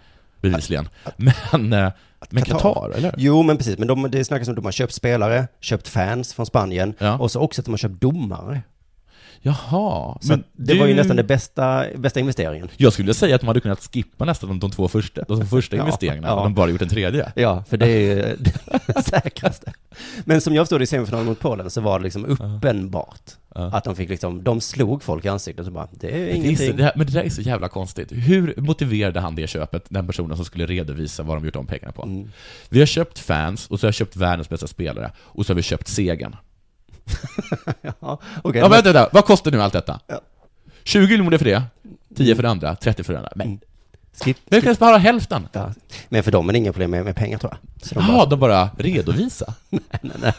Speaker 12: bevisligen. Men, eh, men
Speaker 11: Qatar.
Speaker 12: Qatar, eller?
Speaker 11: Jo, men precis. Men de, det snackas om att de har köpt spelare, köpt fans från Spanien
Speaker 12: Ja.
Speaker 11: och så också att de har köpt domare.
Speaker 12: Jaha.
Speaker 11: Så att det var ju nästan den bästa, bästa investeringen.
Speaker 12: Jag skulle säga att de hade kunnat skippa nästan de, de två första, de två första
Speaker 11: Ja,
Speaker 12: investeringarna,
Speaker 11: ja.
Speaker 12: och de bara gjort en tredje.
Speaker 11: Ja, för det är ju det säkraste. Men som jag förstod det i semifinalen mot Polen så var det liksom uppenbart
Speaker 12: Ja.
Speaker 11: att de fick liksom, de slog folk i ansiktet och bara, det är
Speaker 12: Det är så,
Speaker 11: ingenting.
Speaker 12: det här, men det där är så jävla konstigt. Hur motiverade han det köpet, den personen som skulle redovisa vad de gjort om pengarna på?
Speaker 11: Mm.
Speaker 12: Vi har köpt fans, och så har jag köpt världens bästa spelare, och så har vi köpt segern.
Speaker 11: Ja,
Speaker 12: Ja,
Speaker 11: okej.
Speaker 12: men vänta, vänta, vad kostar nu allt detta?
Speaker 11: Ja. Mm.
Speaker 12: 20 miljoner för det, 10 för det andra, 30 för det andra. Men
Speaker 11: Skip,
Speaker 12: vi
Speaker 11: skip.
Speaker 12: kan spara hälften!
Speaker 11: Mm. Ja. Men för dem är det inga problem med, med pengar tror jag. Så de,
Speaker 12: Jaha, de bara redovisa.
Speaker 11: bara,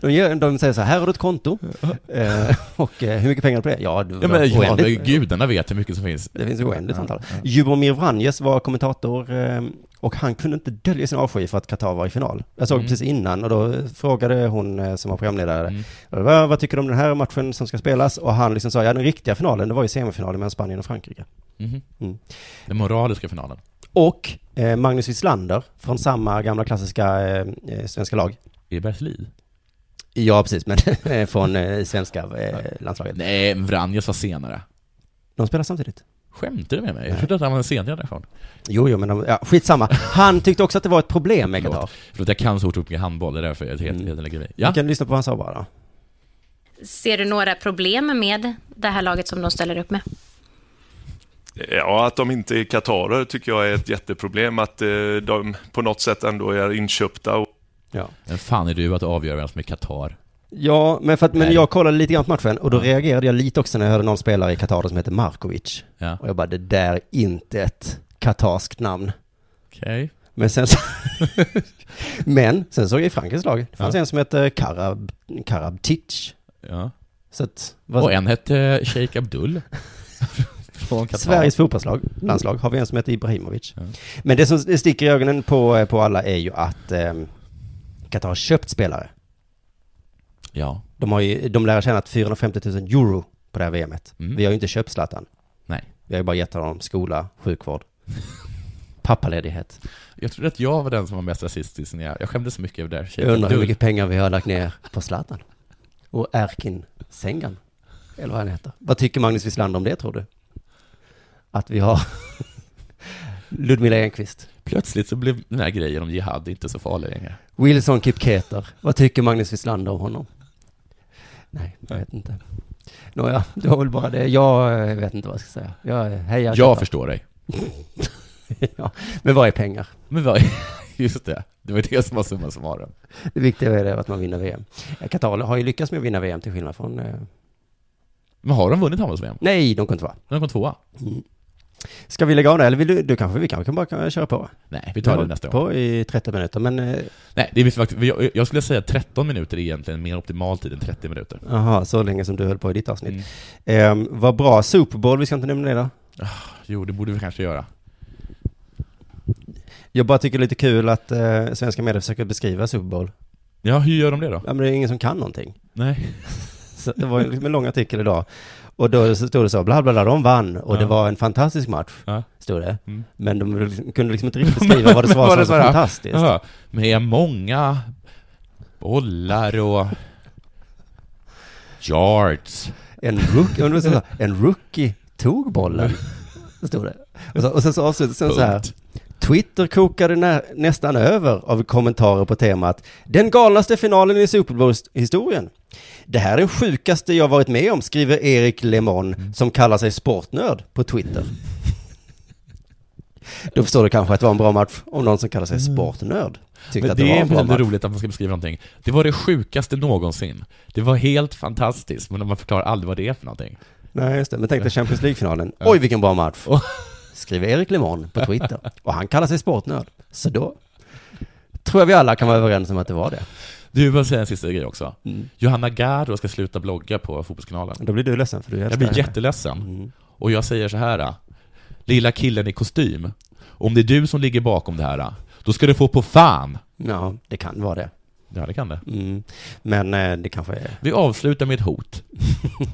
Speaker 11: de, gör, de säger så här, här har du ett konto. Eh, och eh, hur mycket pengar är det på det? Ja, du,
Speaker 12: Ja, men, ja,
Speaker 11: oändligt.
Speaker 12: men gudarna vet hur mycket som finns.
Speaker 11: Det finns oändligt antal. Jubomir Vranjes var kommentator eh, och han kunde inte dölja sin avsky för att Qatar var i final. Jag såg
Speaker 12: Mm.
Speaker 11: precis innan och då frågade hon eh, som var programledare,
Speaker 12: Mm.
Speaker 11: vad, vad tycker du om den här matchen som ska spelas? Och han liksom sa, ja den riktiga finalen, det var ju semifinalen mellan Spanien och Frankrike.
Speaker 12: Mhm.
Speaker 11: Mm.
Speaker 12: Den moraliska finalen.
Speaker 11: Och eh, Magnus Wislander från samma gamla klassiska eh, eh, svenska lag.
Speaker 12: I Berslid?
Speaker 11: Ja, precis, men från eh, svenska eh, landslaget.
Speaker 12: Nej, Vranjes var senare.
Speaker 11: De spelar samtidigt.
Speaker 12: Skämtar du med mig? Jag trodde att han var en sengeneration.
Speaker 11: Jo, jo, men de, ja, skitsamma. Han tyckte också att det var ett problem med Qatar.
Speaker 12: Förlåt, jag kan så otroligt mycket handboll, det är därför jag helt,
Speaker 11: Mm.
Speaker 12: helt lägger mig i.
Speaker 11: Vi kan lyssna på vad han sa bara.
Speaker 13: Ser du några problem med det här laget som de ställer upp med?
Speaker 14: Ja, att de inte är katarer tycker jag är ett jätteproblem. Att eh, de på något sätt ändå är inköpta. Och...
Speaker 11: Ja.
Speaker 12: Men fan är du att avgöra vem som är Qatar?
Speaker 11: Ja, men, för att, men
Speaker 12: Nej.
Speaker 11: jag kollade lite grann på matchen och då reagerade jag lite också när jag hörde någon spelare i Qatar som heter Markovic.
Speaker 12: Ja.
Speaker 11: Och jag bara, det där är inte ett katarskt namn.
Speaker 12: Okej.
Speaker 11: Men sen så... men sen såg jag i Frankrikes lag, det fanns
Speaker 12: Ja.
Speaker 11: en som hette Karab, Karabtic.
Speaker 12: Ja.
Speaker 11: Så att, vad-
Speaker 12: Och en hette Sheikh Abdul. Från Qatar.
Speaker 11: Sveriges fotbollslag, landslag, har vi en som heter Ibrahimovic. Men det som sticker i ögonen på, på alla är ju att ehm, Qatar har köpt spelare.
Speaker 12: Ja.
Speaker 11: De, har ju, de lär ha tjänat 450 000 euro på det här VMet.
Speaker 12: Mm.
Speaker 11: Vi har ju inte köpt Zlatan.
Speaker 12: Nej.
Speaker 11: Vi har ju bara gett honom skola, sjukvård, pappaledighet.
Speaker 12: Jag trodde att jag var den som var mest rasistisk när jag, jag skämdes så mycket över det där. Sheikh
Speaker 11: Jag undrar hur
Speaker 12: Abdul.
Speaker 11: mycket pengar vi har lagt ner på Zlatan. Och Erkin Sengan. Eller vad han heter. Vad tycker Magnus Wislander om det tror du? Att vi har Ludmilla Enqvist,
Speaker 12: Plötsligt så blev den här grejen om jihad inte så farlig längre.
Speaker 11: Wilson Kipketer. Vad tycker Magnus Wislander om honom? Nej, jag vet inte. Nåja, det var väl bara det. Jag eh, vet inte vad jag ska säga. Jag eh, hejar
Speaker 12: Jag
Speaker 11: Qatar.
Speaker 12: förstår dig.
Speaker 11: ja, men vad är pengar?
Speaker 12: Men vad, just det, det var det som var summa summarum.
Speaker 11: Det viktiga är det att man vinner VM. Eh, Qatar har ju lyckats med att vinna VM till skillnad från... Eh...
Speaker 12: Men har de vunnit handbolls-VM?
Speaker 11: Nej, de kunde inte vara.
Speaker 12: De kom tvåa.
Speaker 11: Ska vi lägga av det? Eller vill du, du kanske, vi kanske kan bara kan köra på?
Speaker 12: Nej, vi tar det
Speaker 11: har
Speaker 12: nästa
Speaker 11: hållit på i 30 minuter, men... eh,
Speaker 12: Nej, det är faktiskt, jag, jag skulle säga 13 minuter är egentligen mer optimal tid än 30 minuter.
Speaker 11: Jaha, så länge som du höll på i ditt avsnitt. Mm. vad bra. Super Bowl, vi ska inte nämna det då.
Speaker 12: Jo, det borde vi kanske göra.
Speaker 11: Jag bara tycker det är lite kul att eh, svenska medier försöker beskriva Super Bowl.
Speaker 12: Ja, hur gör de det då?
Speaker 11: Ja, men det är ingen som kan någonting.
Speaker 12: Nej.
Speaker 11: Så det var ju liksom en lång artikel idag. Och då så stod det så, bla bla bla, de vann och det
Speaker 12: Ja.
Speaker 11: var en fantastisk match,
Speaker 12: Ja.
Speaker 11: stod det.
Speaker 12: Mm.
Speaker 11: Men de ville liksom- kunde liksom inte riktigt beskriva vad det var som var så
Speaker 12: här,
Speaker 11: fantastiskt.
Speaker 12: jaha, Med många bollar och yards.
Speaker 11: En rookie, undrar så här, en rookie tog bollen, stod det. Och, så, och sen så avslutades den så här. Twitter kokade nä, nästan över av kommentarer på temat Den galnaste finalen i Super Bowl-historien. Det här är den sjukaste jag varit med om, skriver Erik Lemon, som kallar sig sportnörd på Twitter. Då förstår du kanske att det var en bra match om någon som kallar sig sportnörd tyckte
Speaker 12: Men
Speaker 11: att
Speaker 12: det,
Speaker 11: det, var
Speaker 12: är
Speaker 11: en bra
Speaker 12: väldigt
Speaker 11: match.
Speaker 12: roligt att man ska beskriva någonting. Det var det sjukaste någonsin. Det var helt fantastiskt, men man förklarar aldrig vad det är för någonting.
Speaker 11: Nej, just det. Men tänk dig Champions League-finalen. Oj, vilken bra match. Skriver Erik Lemon på Twitter. Och han kallar sig sportnörd. Så då tror jag vi alla kan vara överens om att det var det.
Speaker 12: Du, jag vill säga en sista grej också.
Speaker 11: Mm.
Speaker 12: Johanna Gardo ska sluta blogga på Fotbollskanalen.
Speaker 11: Då blir du ledsen för du älskar
Speaker 12: Jag blir
Speaker 11: henne.
Speaker 12: jätteledsen.
Speaker 11: Mm.
Speaker 12: Och jag säger så här, lilla killen i kostym, om det är du som ligger bakom det här, då ska du få på fan.
Speaker 11: Ja, det kan vara det.
Speaker 12: Ja, det kan det.
Speaker 11: Mm. Men eh, det kanske är...
Speaker 12: Vi avslutar med ett hot.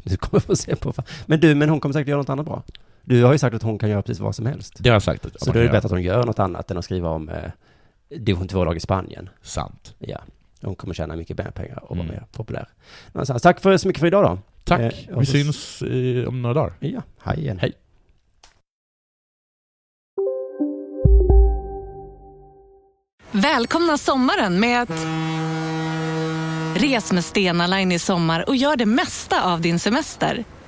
Speaker 11: Du kommer få se på... Men du, men hon kommer säkert göra något annat bra. Du har ju sagt att hon kan göra precis vad som helst.
Speaker 12: Det har jag sagt. att-
Speaker 11: Så då är det bättre att hon gör något annat än att skriva om eh, division 2-lag i Spanien.
Speaker 12: Sant.
Speaker 11: Ja. Hon kommer tjäna mycket mer pengar och vara mer populär. Någonstans. Tack för, så mycket för idag då.
Speaker 12: Tack.
Speaker 11: Eh, och
Speaker 12: Vi
Speaker 11: så-
Speaker 12: syns eh, om några dagar.
Speaker 11: Ja, hej igen.
Speaker 12: Hej.
Speaker 15: Välkomna sommaren med att... Res med Stena Line i sommar och gör det mesta av din semester.